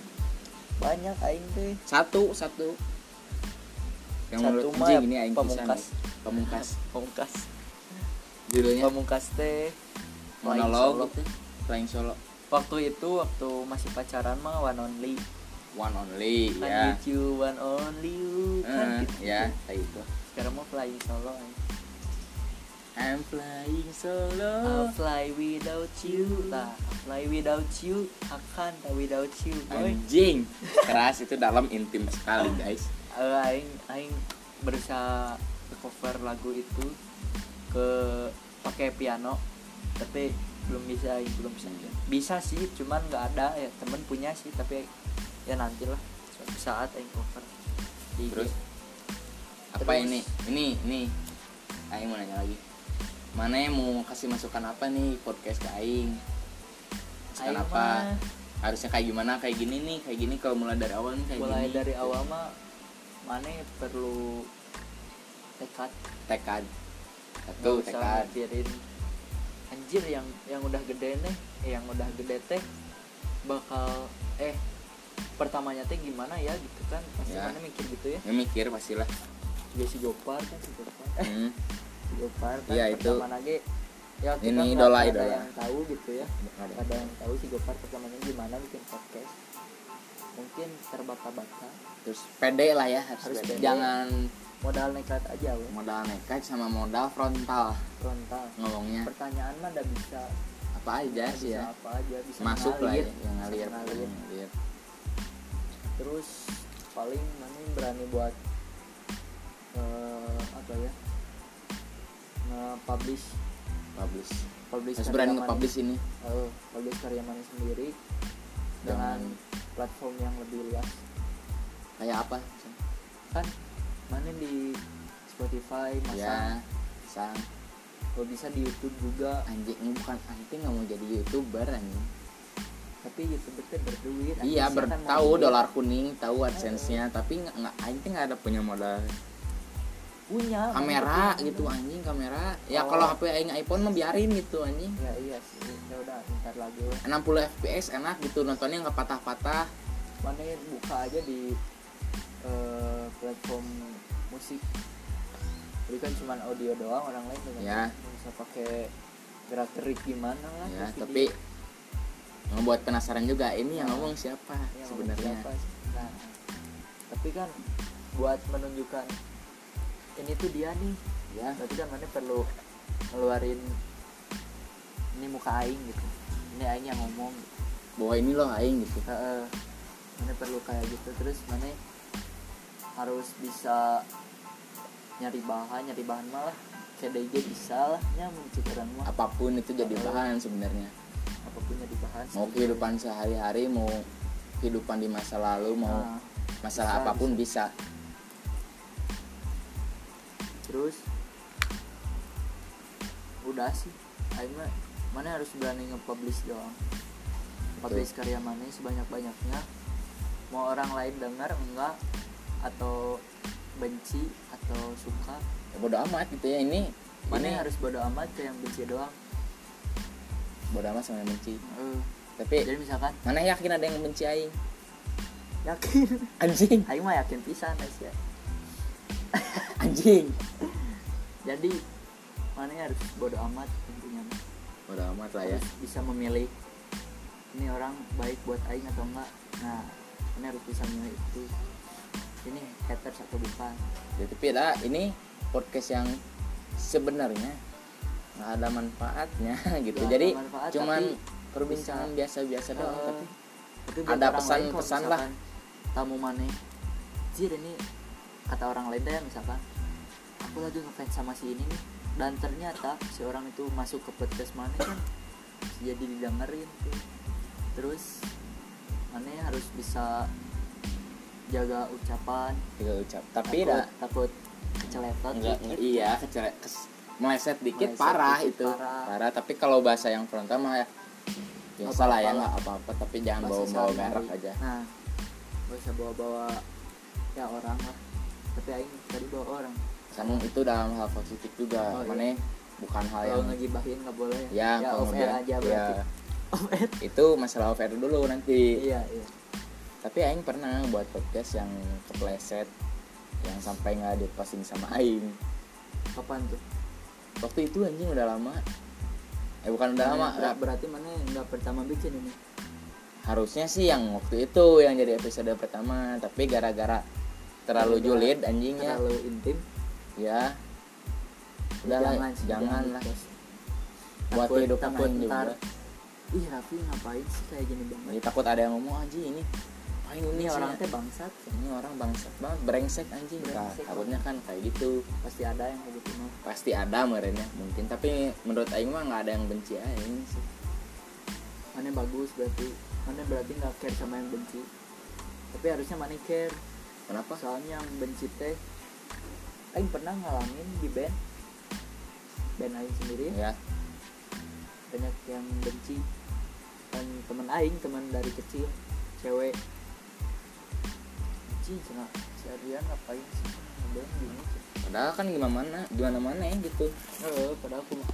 Speaker 2: banyak aing teh
Speaker 1: Satu, satu. Yang
Speaker 2: Satu
Speaker 1: menurut
Speaker 2: mah
Speaker 1: anjing
Speaker 2: ya,
Speaker 1: ini aing pisan,
Speaker 2: Pamungkas.
Speaker 1: ya. Pamungkas.
Speaker 2: pamungkas
Speaker 1: Judulnya
Speaker 2: pamungkas teh Flying Solo.
Speaker 1: monolog gitu. Flying solo.
Speaker 2: waktu itu waktu masih pacaran mah one only
Speaker 1: One only
Speaker 2: kan
Speaker 1: ya.
Speaker 2: you one only you
Speaker 1: Eh,
Speaker 2: kan gitu
Speaker 1: ya, kayak itu.
Speaker 2: sekarang mau flying solo aing.
Speaker 1: I'm flying
Speaker 2: I'll
Speaker 1: solo.
Speaker 2: fly without you lah I'll fly without you akan tak without you boy
Speaker 1: Anjing. Keras itu dalam intim sekali, guys.
Speaker 2: Eh, aing aing berusaha ke cover lagu itu ke pakai piano tapi belum bisa aing belum bisa
Speaker 1: Hmm.
Speaker 2: bisa sih cuman nggak ada ya temen punya sih tapi ya nantilah suatu saat aing cover Di-
Speaker 1: Terus apa
Speaker 2: Iya. Terus.
Speaker 1: ini? Ini, ini. Aing mau nanya lagi. Mana yang mau kasih masukan apa nih podcast ke aing?
Speaker 2: aing
Speaker 1: Masukan apa?
Speaker 2: mah
Speaker 1: Harusnya kayak gimana? Kayak gini nih, kayak gini kalau mulai dari awal nih kayak gini.
Speaker 2: mulai
Speaker 1: gitu.
Speaker 2: dari awal mah mana ya, perlu tekad
Speaker 1: tekad. Satu,
Speaker 2: Tuh,
Speaker 1: tekad.
Speaker 2: mikirin anjir yang yang udah gede nih eh, yang udah gede teh bakal eh pertamanya teh gimana ya gitu kan pasti
Speaker 1: Ya.
Speaker 2: mana mikir gitu ya
Speaker 1: Ya, mikir pastilah.
Speaker 2: juga si Gopar kan si Gopar eh
Speaker 1: Hmm.
Speaker 2: si Gopar kan
Speaker 1: Iya, itu.
Speaker 2: pertama lagi ya kita
Speaker 1: Ini
Speaker 2: nggak-
Speaker 1: idola,
Speaker 2: nggak
Speaker 1: idola.
Speaker 2: ada yang tahu gitu ya
Speaker 1: Ada.
Speaker 2: nggak ada yang tahu si Gopar pertamanya gimana bikin podcast mungkin terbata-bata
Speaker 1: Terus pede lah ya, harus,
Speaker 2: Harus
Speaker 1: pede.
Speaker 2: pede.
Speaker 1: Jangan
Speaker 2: modal nekat aja loh
Speaker 1: modal nekat sama modal frontal
Speaker 2: frontal
Speaker 1: ngomongnya
Speaker 2: pertanyaan mah udah bisa
Speaker 1: apa aja
Speaker 2: bisa
Speaker 1: sih ya
Speaker 2: apa aja bisa
Speaker 1: masuk lah ya
Speaker 2: ngalir,
Speaker 1: yang
Speaker 2: bisa
Speaker 1: ngalir Hmm.
Speaker 2: ngalir.
Speaker 1: Ngalir.
Speaker 2: terus paling mana yang berani buat eh, apa ya nge-publish
Speaker 1: publish
Speaker 2: publish
Speaker 1: harus
Speaker 2: karya
Speaker 1: berani
Speaker 2: mana-
Speaker 1: nge-publish ini
Speaker 2: eh, publish karya mana sendiri
Speaker 1: dengan
Speaker 2: dengan platform yang lebih luas
Speaker 1: kayak apa
Speaker 2: kan mana di Spotify masa
Speaker 1: ya sang
Speaker 2: kalau bisa di YouTube juga
Speaker 1: anjing ini bukan anjing nggak mau jadi youtuber anjing
Speaker 2: tapi YouTube itu berduit
Speaker 1: iya
Speaker 2: Anjing
Speaker 1: ber
Speaker 2: kan mau
Speaker 1: tahu
Speaker 2: duit.
Speaker 1: dolar kuning tahu adsense nya tapi nggak nggak anjing nggak ada punya modal
Speaker 2: punya kan, mana
Speaker 1: kamera
Speaker 2: punya.
Speaker 1: gitu anjing kamera ya
Speaker 2: Oh.
Speaker 1: kalau HP aing iPhone mah biarin gitu anjing
Speaker 2: ya iya sih ya udah ntar lagi
Speaker 1: 60
Speaker 2: lah
Speaker 1: fps enak gitu nontonnya nggak patah-patah
Speaker 2: mana buka aja di eh, platform musik jadi kan cuman audio doang orang lain dengan
Speaker 1: Ya.
Speaker 2: bisa pakai gerak gerik gimana lah
Speaker 1: ya
Speaker 2: terus video.
Speaker 1: tapi membuat penasaran juga ini yang
Speaker 2: Nah.
Speaker 1: ngomong siapa
Speaker 2: Ya, ngomong
Speaker 1: sebenarnya
Speaker 2: siapa sih. Nah, tapi kan buat menunjukkan ini tuh dia nih
Speaker 1: ya
Speaker 2: berarti kan mana perlu ngeluarin ini muka aing gitu ini aing yang ngomong gitu.
Speaker 1: bahwa ini loh aing gitu
Speaker 2: Heeh. mana perlu kayak gitu terus mana harus bisa nyari bahan nyari bahan malah CDG bisa lah nya mencit orang mah
Speaker 1: apapun itu jadi
Speaker 2: Heeh.
Speaker 1: bahan sebenarnya
Speaker 2: apapun nyari bahan
Speaker 1: mau kehidupan sehari-hari mau kehidupan di masa lalu mau
Speaker 2: Nah,
Speaker 1: masalah
Speaker 2: bisa,
Speaker 1: apapun bisa
Speaker 2: terus udah sih aing mah mana harus berani nge-publish doang publish karya mana sebanyak-banyaknya mau orang lain dengar enggak atau benci atau suka
Speaker 1: ya, bodo amat gitu ya ini
Speaker 2: mana
Speaker 1: ini
Speaker 2: harus bodo amat ke yang benci doang
Speaker 1: bodo amat sama yang benci
Speaker 2: Eh,
Speaker 1: tapi
Speaker 2: jadi misalkan
Speaker 1: mana yakin ada yang benci aing
Speaker 2: yakin
Speaker 1: anjing
Speaker 2: aing mah yakin pisan ya. Aisyah
Speaker 1: anjing
Speaker 2: jadi mana ya harus bodo amat intinya mah.
Speaker 1: bodo amat lah ya
Speaker 2: harus bisa memilih ini orang baik buat aing atau enggak nah ini harus bisa memilih itu ini haters atau bukan
Speaker 1: Ya, tapi lah ini podcast yang sebenarnya nggak ada manfaatnya gitu
Speaker 2: Nggak ada
Speaker 1: jadi
Speaker 2: manfaat,
Speaker 1: cuman
Speaker 2: tapi
Speaker 1: perbincangan
Speaker 2: bisa-
Speaker 1: biasa-biasa doang
Speaker 2: Eh,
Speaker 1: tapi
Speaker 2: tapi
Speaker 1: ada
Speaker 2: buat orang lain kalau
Speaker 1: pesan-pesan lah.
Speaker 2: misalkan tamu mana ya?" jir ini kata orang lain deh misalkan aku lagi ngefans sama si ini nih dan ternyata si orang itu masuk ke podcast mana kan jadi didengerin tuh terus mana ya harus bisa jaga ucapan
Speaker 1: tiga ucap tapi
Speaker 2: takut,
Speaker 1: lah
Speaker 2: takut keceletot gitu.
Speaker 1: enggak
Speaker 2: dikit.
Speaker 1: iya kecele- kes- meleset dikit
Speaker 2: Meleset
Speaker 1: parah
Speaker 2: dikit,
Speaker 1: itu
Speaker 2: parah.
Speaker 1: parah. tapi kalau bahasa yang frontal mah ya biasa
Speaker 2: Apa-apa
Speaker 1: lah ya
Speaker 2: lah.
Speaker 1: nggak apa-apa tapi jangan
Speaker 2: Bahasa
Speaker 1: bawa-bawa
Speaker 2: sehari-hari.
Speaker 1: merek aja
Speaker 2: nah gak usah bawa-bawa ya orang lah tapi aing tadi bawa orang
Speaker 1: sama itu dalam hal positif juga
Speaker 2: Oh, iya.
Speaker 1: mana bukan hal
Speaker 2: kalau
Speaker 1: yang
Speaker 2: ngegibahin nggak boleh
Speaker 1: ya
Speaker 2: ya off air
Speaker 1: kemudian
Speaker 2: aja
Speaker 1: ya
Speaker 2: berarti off air
Speaker 1: itu masalah off air dulu nanti
Speaker 2: iya iya
Speaker 1: tapi Aing pernah buat podcast yang kepleset yang sampai nggak diposting sama Aing
Speaker 2: kapan tuh
Speaker 1: waktu itu anjing udah lama eh bukan udah lama
Speaker 2: Ber- berarti mana yang nggak pertama bikin ini
Speaker 1: harusnya sih yang waktu itu yang jadi episode pertama tapi gara-gara terlalu julid anjingnya
Speaker 2: terlalu intim
Speaker 1: ya udah lah
Speaker 2: jangan sih,
Speaker 1: jangan lah
Speaker 2: di-post.
Speaker 1: buat
Speaker 2: Takut-
Speaker 1: kehidupan
Speaker 2: takut
Speaker 1: juga
Speaker 2: ntar, ih Raffi ngapain sih kayak gini banget
Speaker 1: Jadi takut ada yang ngomong anjing ini Aing
Speaker 2: ini
Speaker 1: sih,
Speaker 2: orang
Speaker 1: ya.
Speaker 2: teh bangsat
Speaker 1: ini orang bangsat banget brengsek anjing Nah,
Speaker 2: Brengsek.
Speaker 1: takutnya kan kayak gitu
Speaker 2: pasti ada yang kayak gitu mah
Speaker 1: pasti ada merenya mungkin tapi menurut Aing mah nggak ada yang benci Aing sih
Speaker 2: mana bagus berarti mana berarti nggak care sama yang benci tapi harusnya mana care
Speaker 1: kenapa
Speaker 2: soalnya yang benci teh Aing pernah ngalamin di band band Aing sendiri
Speaker 1: ya
Speaker 2: banyak yang benci dan teman Aing teman dari kecil cewek benci cina si Adrian ngapain sih ada gini sih
Speaker 1: padahal kan gimana mana gimana mana ya gitu
Speaker 2: eh padahal aku mah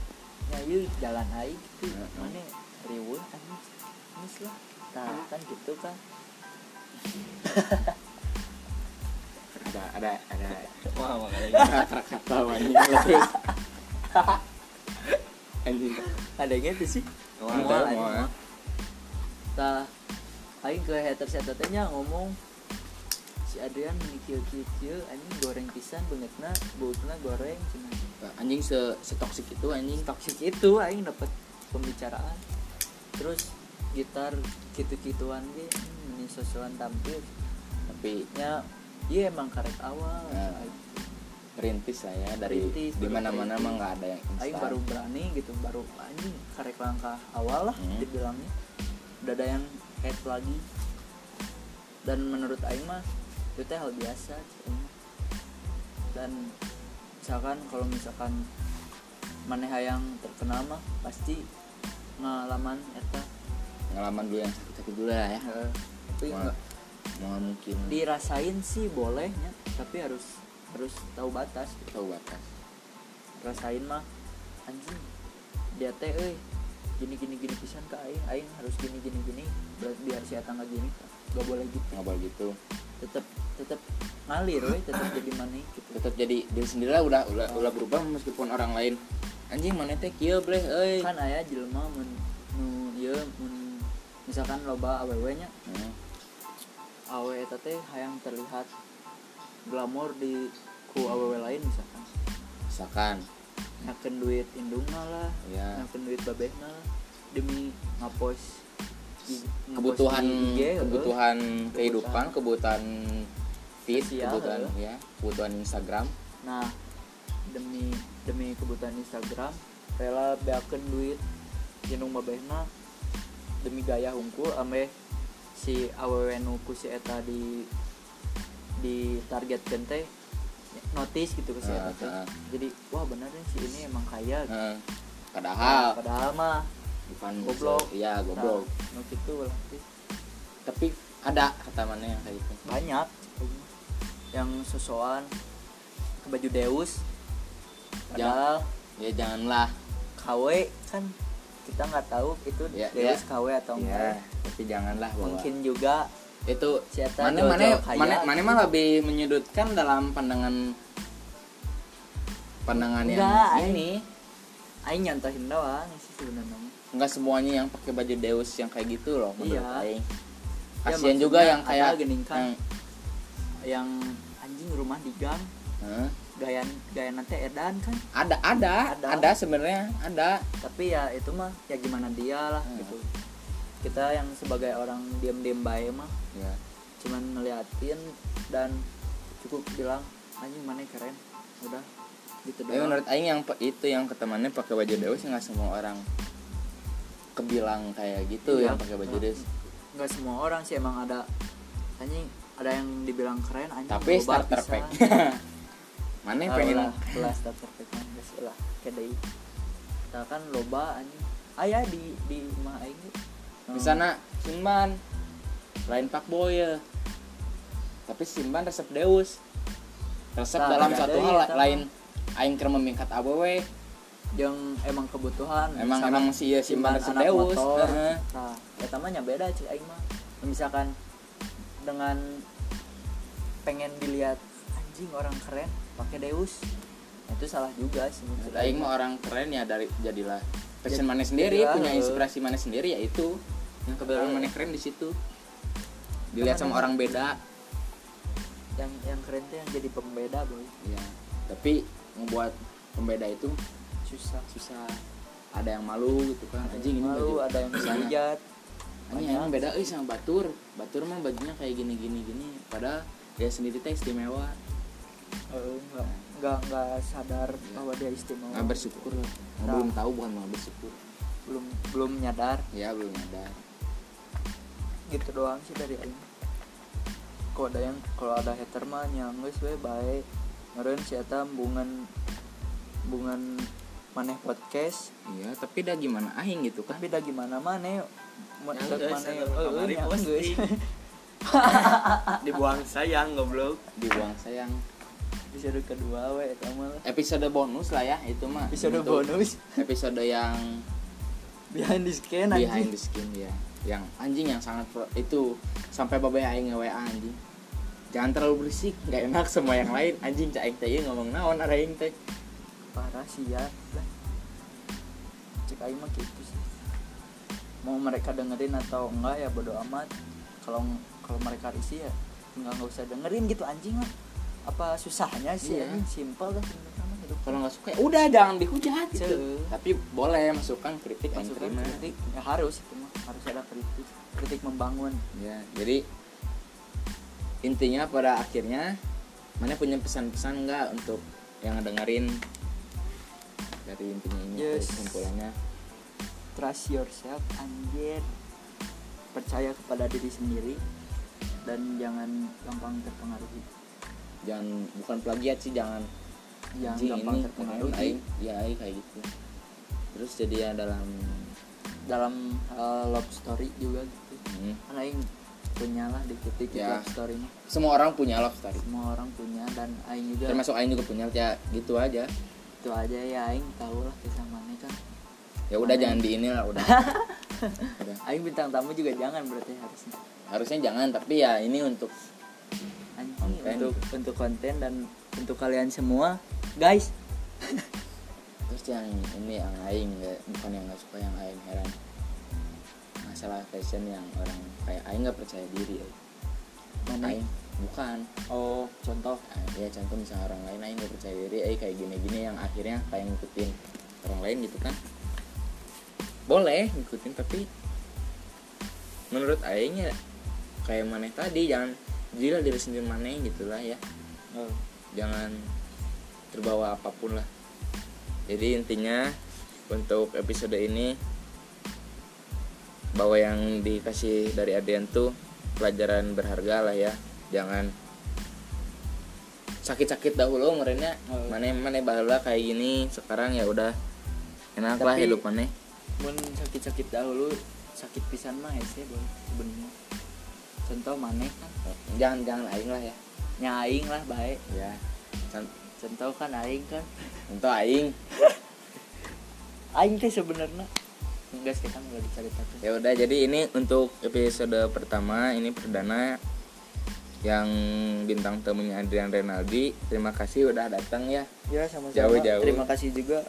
Speaker 2: nyayu jalan Aing tuh
Speaker 1: Heeh.
Speaker 2: mana riwul anis anis lah nah, kan gitu kan
Speaker 1: ada ada ada
Speaker 3: Wah,
Speaker 1: kata-kata anjing lebih anjing
Speaker 2: ada yang itu sih
Speaker 1: Oh, Ada, ya.
Speaker 2: Mual,
Speaker 1: mual.
Speaker 2: anjing. tah aing ke haters eta teh nya ngomong si Adrian menikil kieu kieu anjing goreng pisan bangetna bautna goreng cina
Speaker 1: anjing se setoksik itu anjing
Speaker 2: toxic itu aing dapat pembicaraan terus gitar gitu-gituan ge hmm, ini sosokan tampil
Speaker 1: tapi
Speaker 2: nya iya emang karet awal
Speaker 1: Nah, rintis lah ya dari
Speaker 2: Rintis,
Speaker 1: di mana mana
Speaker 2: rintis.
Speaker 1: mah nggak ada yang
Speaker 2: Aing
Speaker 1: instan
Speaker 2: baru berani gitu baru anjing karek langkah awal lah
Speaker 1: Hmm.
Speaker 2: dibilangnya udah ada yang head lagi dan menurut Aing mah itu teh hal biasa cuman. dan misalkan kalau misalkan maneh yang terkenal mah pasti ngalaman eta
Speaker 1: pengalaman dulu yang sakit sakit dulu lah ya
Speaker 2: eh, tapi
Speaker 1: Wah,
Speaker 2: nggak- Iya.
Speaker 1: mau mungkin
Speaker 2: dirasain sih bolehnya tapi harus harus tahu batas
Speaker 1: tahu batas
Speaker 2: rasain mah anjing dia teh euy gini gini gini pisan ke aing aing harus gini gini gini Ber- biar si Eta nggak gini gak boleh gitu
Speaker 1: nggak boleh gitu
Speaker 2: tetep tetep ngalir we tetep jadi mana gitu
Speaker 1: tetap jadi diri sendiri lah udah udah, udah berubah meskipun orang lain anjing mana teh kieu bleh euy
Speaker 2: kan aya jelema mun nu ieu mun misalkan loba awewe nya
Speaker 1: Hmm.
Speaker 2: awewe eta teh hayang terlihat glamor di ku awewe lain misalkan
Speaker 1: misalkan
Speaker 2: nyakeun duit indungna lah
Speaker 1: ya
Speaker 2: nyakeun duit babehna lah demi ngapos i- ngapos
Speaker 1: kebutuhan
Speaker 2: di Nah, IG, heueuh.
Speaker 1: kebutuhan kehidupan kebutuhan feed
Speaker 2: Sosial,
Speaker 1: kebutuhan
Speaker 2: heeh.
Speaker 1: ya kebutuhan Instagram
Speaker 2: Nah, demi demi kebutuhan Instagram, rela beakeun duit jenung babehna demi gaya hungkul ame si awewe nu ku si eta di di target teh notice gitu ke si
Speaker 1: Ah,
Speaker 2: eta teh.
Speaker 1: ah.
Speaker 2: jadi wah bener nih si ini emang kaya gitu.
Speaker 1: Heeh. padahal
Speaker 2: padahal mah
Speaker 1: bukan
Speaker 2: Nah, goblok.
Speaker 1: iya Ah. goblok
Speaker 2: nah, nu kitu lah teh.
Speaker 1: tapi ada kata mana yang kayak gitu
Speaker 2: banyak yang sosokan ke baju Deus padahal
Speaker 1: ya janganlah
Speaker 2: KW kan kita nggak tahu itu
Speaker 1: Ya,
Speaker 2: Deus
Speaker 1: ya.
Speaker 2: KW atau
Speaker 1: ya
Speaker 2: enggak
Speaker 1: tapi janganlah bahwa
Speaker 2: Iya. mungkin juga
Speaker 1: itu
Speaker 2: si Eta
Speaker 1: mana
Speaker 2: jauh-jauh gitu.
Speaker 1: mana ya?
Speaker 2: kaya.
Speaker 1: mana mana mah lebih menyudutkan dalam pandangan pandangan yang
Speaker 2: Enggak, aing-
Speaker 1: ini
Speaker 2: aing nyontohin doang sih sebenarnya
Speaker 1: nggak semuanya yang pakai baju Deus yang kayak gitu loh menurut
Speaker 2: Iya.
Speaker 1: aing
Speaker 2: Ya,
Speaker 1: kasian
Speaker 2: maksudnya
Speaker 1: juga yang
Speaker 2: ada
Speaker 1: kayak
Speaker 2: geuning kan.
Speaker 1: yang-
Speaker 2: yang anjing rumah di gang
Speaker 1: Hah?
Speaker 2: gaya gaya nanti edan kan
Speaker 1: eh, ada ada
Speaker 2: Ada.
Speaker 1: ada, sebenarnya ada
Speaker 2: tapi ya itu mah ya gimana dia lah
Speaker 1: Hmm.
Speaker 2: gitu kita yang sebagai orang diam-diam bae mah
Speaker 1: ya.
Speaker 2: cuman ngeliatin dan cukup bilang anjing mana keren udah gitu
Speaker 1: tapi
Speaker 2: doang
Speaker 1: menurut aing yang pe- itu yang ketemannya pakai baju Deus nggak semua orang kebilang kayak gitu yang
Speaker 2: Iya.
Speaker 1: pakai baju Deus
Speaker 2: nggak semua orang sih emang ada anjing ada yang dibilang keren anjing
Speaker 1: tapi
Speaker 2: Nah, berubah
Speaker 1: starter
Speaker 2: pisan.
Speaker 1: pack mana
Speaker 2: Ah,
Speaker 1: pengen
Speaker 2: ulah, ulah starter pack mah, geus ulah kedai kita kan loba anjing ayah di di rumah aing ge. Hmm,
Speaker 1: di sana Simban lain Pak Boy tapi Simban resep Deus resep
Speaker 2: Tah,
Speaker 1: dalam
Speaker 2: ada
Speaker 1: satu
Speaker 2: deui
Speaker 1: hal
Speaker 2: eta mah.
Speaker 1: lain aing keur memingkat awewe
Speaker 2: yang emang kebutuhan
Speaker 1: emang
Speaker 2: misalkan
Speaker 1: emang si ieu Simban resep
Speaker 2: Hmm, anak
Speaker 1: Deus
Speaker 2: motor
Speaker 1: Heeh.
Speaker 2: nah ya tamanya beda cik aing mah misalkan dengan pengen dilihat anjing orang keren pakai Deus Nah, itu salah juga sih menurut
Speaker 1: Menurut aing mah orang keren ya dari jadilah passion
Speaker 2: Jadi-
Speaker 1: mana sendiri
Speaker 2: jadilah,
Speaker 1: punya
Speaker 2: heeh.
Speaker 1: inspirasi mana sendiri ya itu yang kebetulan
Speaker 2: Heeh.
Speaker 1: mana keren di situ dilihat
Speaker 2: Teman-teman.
Speaker 1: sama orang beda
Speaker 2: yang yang keren tuh yang jadi pembeda boy
Speaker 1: ya tapi membuat pembeda itu
Speaker 2: susah
Speaker 1: susah ada yang malu gitu kan anjing ini
Speaker 2: malu
Speaker 1: baju
Speaker 2: ada yang
Speaker 1: sana.
Speaker 2: dihujat
Speaker 1: Ini
Speaker 2: Banyak.
Speaker 1: emang beda euy sama Batur. Batur mah bajunya kayak gini gini gini. Padahal dia sendiri teh istimewa.
Speaker 2: Eh, nggak nggak nggak sadar bahwa dia istimewa
Speaker 1: Iya. Nggak bersyukur lah. Nggak
Speaker 2: Nah.
Speaker 1: Nah, Belum tahu bukan mau bersyukur.
Speaker 2: belum belum nyadar
Speaker 1: Ya belum ada.
Speaker 2: gitu doang sih dari aing kalau ada yang kalau ada hater mah nyanggus we baik meren si eta bungan bungan maneh podcast
Speaker 1: Iya, tapi dah gimana aing gitu kan.
Speaker 2: tapi da gimana maneh Ma-
Speaker 3: Yang
Speaker 2: da
Speaker 3: geus,
Speaker 2: maneh,
Speaker 3: anu
Speaker 1: Oh,
Speaker 2: eh,
Speaker 3: kamari
Speaker 2: eh, nyanggeus.
Speaker 3: posting. dibuang sayang goblok
Speaker 1: Dibuang sayang.
Speaker 2: episode kedua we eta mah lah.
Speaker 1: Episode bonus lah ya itu mah.
Speaker 2: episode
Speaker 1: Itu
Speaker 2: bonus
Speaker 1: Episode yang
Speaker 2: behind the skin
Speaker 1: behind
Speaker 2: anjing
Speaker 1: the skin ya. Yang anjing yang sangat pro- itu sampai babeh aing nge-WA anjing. Jangan terlalu berisik, nggak enak sama yang lain. Anjing cak aing teh ieu ngomong naon ada aing teh.
Speaker 2: parah sih ya Lah. cek aing mah gitu sih mau mereka dengerin atau enggak ya bodo amat kalau kalau mereka risih ya enggak nggak usah dengerin gitu anjing lah apa susahnya sih
Speaker 1: Iya.
Speaker 2: anjing simpel lah sebenarnya mah hidup
Speaker 1: kalau nggak suka ya udah jangan dihujat gitu
Speaker 2: Ceuh.
Speaker 1: tapi boleh masukkan kritik yang
Speaker 2: Masukkan
Speaker 1: terima
Speaker 2: kritik ya harus itu mah harus ada kritik kritik membangun
Speaker 1: ya jadi intinya pada akhirnya mana punya pesan-pesan nggak untuk yang dengerin dari intinya ini tuh,
Speaker 2: Yes.
Speaker 1: kesimpulannya
Speaker 2: trust yourself anjir percaya kepada diri sendiri dan jangan gampang terpengaruhi
Speaker 1: jangan bukan plagiat sih jangan
Speaker 2: jangan
Speaker 1: "Anjing,
Speaker 2: gampang
Speaker 1: ini
Speaker 2: terpengaruhi
Speaker 1: keren, aing ya aing kayak gitu terus jadi ya dalam
Speaker 2: dalam uh, love story juga gitu
Speaker 1: hmm,
Speaker 2: kan Aing punya lah dikit dikit
Speaker 1: Ya.
Speaker 2: love story mah.
Speaker 1: semua orang punya love story
Speaker 2: semua orang punya dan Aing juga
Speaker 1: termasuk Aing juga punya ya gitu aja
Speaker 2: itu aja ya Aing tahu lah kisah mana kan
Speaker 1: ya udah
Speaker 2: Mana?
Speaker 1: jangan di inilah udah udah
Speaker 2: Aing bintang tamu juga jangan berarti harusnya
Speaker 1: harusnya jangan tapi ya ini untuk
Speaker 2: Anjing,
Speaker 1: Konten.
Speaker 2: untuk untuk konten dan untuk kalian semua guys
Speaker 1: terus yang ini yang aing nggak bukan yang nggak suka yang aing heran masalah fashion yang orang kayak aing nggak percaya diri ya.
Speaker 2: mana
Speaker 1: aing bukan
Speaker 2: oh contoh
Speaker 1: Ah, ya contoh misalnya orang lain aing nggak percaya diri aing kayak gini gini yang akhirnya kayak ngikutin orang lain gitu kan boleh ngikutin tapi menurut aing ya kayak maneh tadi jangan jadilah diri sendiri maneh gitulah ya
Speaker 2: oh,
Speaker 1: jangan terbawa apapun lah jadi intinya untuk episode ini bahwa yang dikasih dari Adian tuh pelajaran berharga lah ya jangan sakit-sakit dahulu merenya mana mana bahala kayak gini sekarang ya udah enak lah
Speaker 2: Tapi-
Speaker 1: hidup mana
Speaker 2: mun sakit-sakit dahulu sakit pisan mah hese boy sebenarnya contoh maneh kan
Speaker 1: jangan jangan aing lah ya
Speaker 2: nyaing lah baik
Speaker 1: ya Con-
Speaker 2: contoh kan aing kan
Speaker 1: contoh aing
Speaker 2: aing teh sebenarnya enggak sih kan enggak diceritakan
Speaker 1: ya udah jadi ini untuk episode pertama ini perdana yang bintang temunya Adrian Renaldi terima kasih udah datang ya
Speaker 2: ya sama-sama
Speaker 1: Jauh-jauh.
Speaker 2: terima kasih juga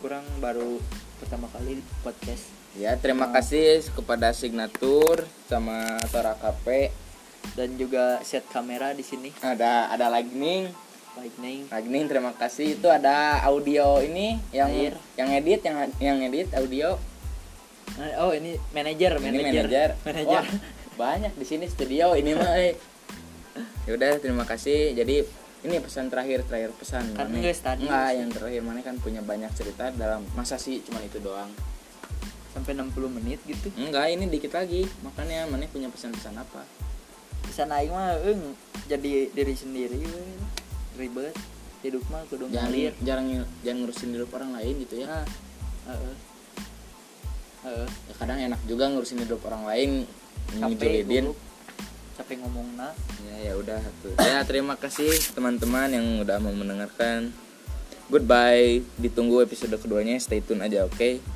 Speaker 2: kurang baru pertama kali podcast
Speaker 1: ya terima kasih kepada signatur sama Tora KP
Speaker 2: dan juga set kamera di sini
Speaker 1: ada ada lightning
Speaker 2: lightning
Speaker 1: Agning terima kasih itu ada audio ini yang
Speaker 2: Air.
Speaker 1: yang edit yang yang edit audio
Speaker 2: Nah, oh ini manajer
Speaker 1: ini
Speaker 2: manajer
Speaker 1: manajer Wah, banyak di sini studio ini mah eh. ya udah terima kasih jadi ini pesan terakhir terakhir pesan
Speaker 2: Kan
Speaker 1: Mane.
Speaker 2: geus tadi.
Speaker 1: Enggak, yang terakhir mana kan punya banyak cerita dalam masa sih cuma itu doang
Speaker 2: sampai 60 menit gitu
Speaker 1: enggak ini dikit lagi makanya mana punya pesan-pesan apa
Speaker 2: bisa naik mah eung jadi diri sendiri we. ribet hidup mah kudu
Speaker 1: jangan
Speaker 2: ngalir
Speaker 1: jarang jangan ngurusin hidup orang lain gitu ya
Speaker 2: nah heeh heeh
Speaker 1: Ya, kadang enak juga ngurusin hidup orang lain
Speaker 2: capek
Speaker 1: ngejulidin.
Speaker 2: gugup. capek ngomong nah
Speaker 1: Ya ya udah tuh. Ya terima kasih teman-teman yang udah mau mendengarkan. Goodbye. Ditunggu episode keduanya. Stay tune aja, oke?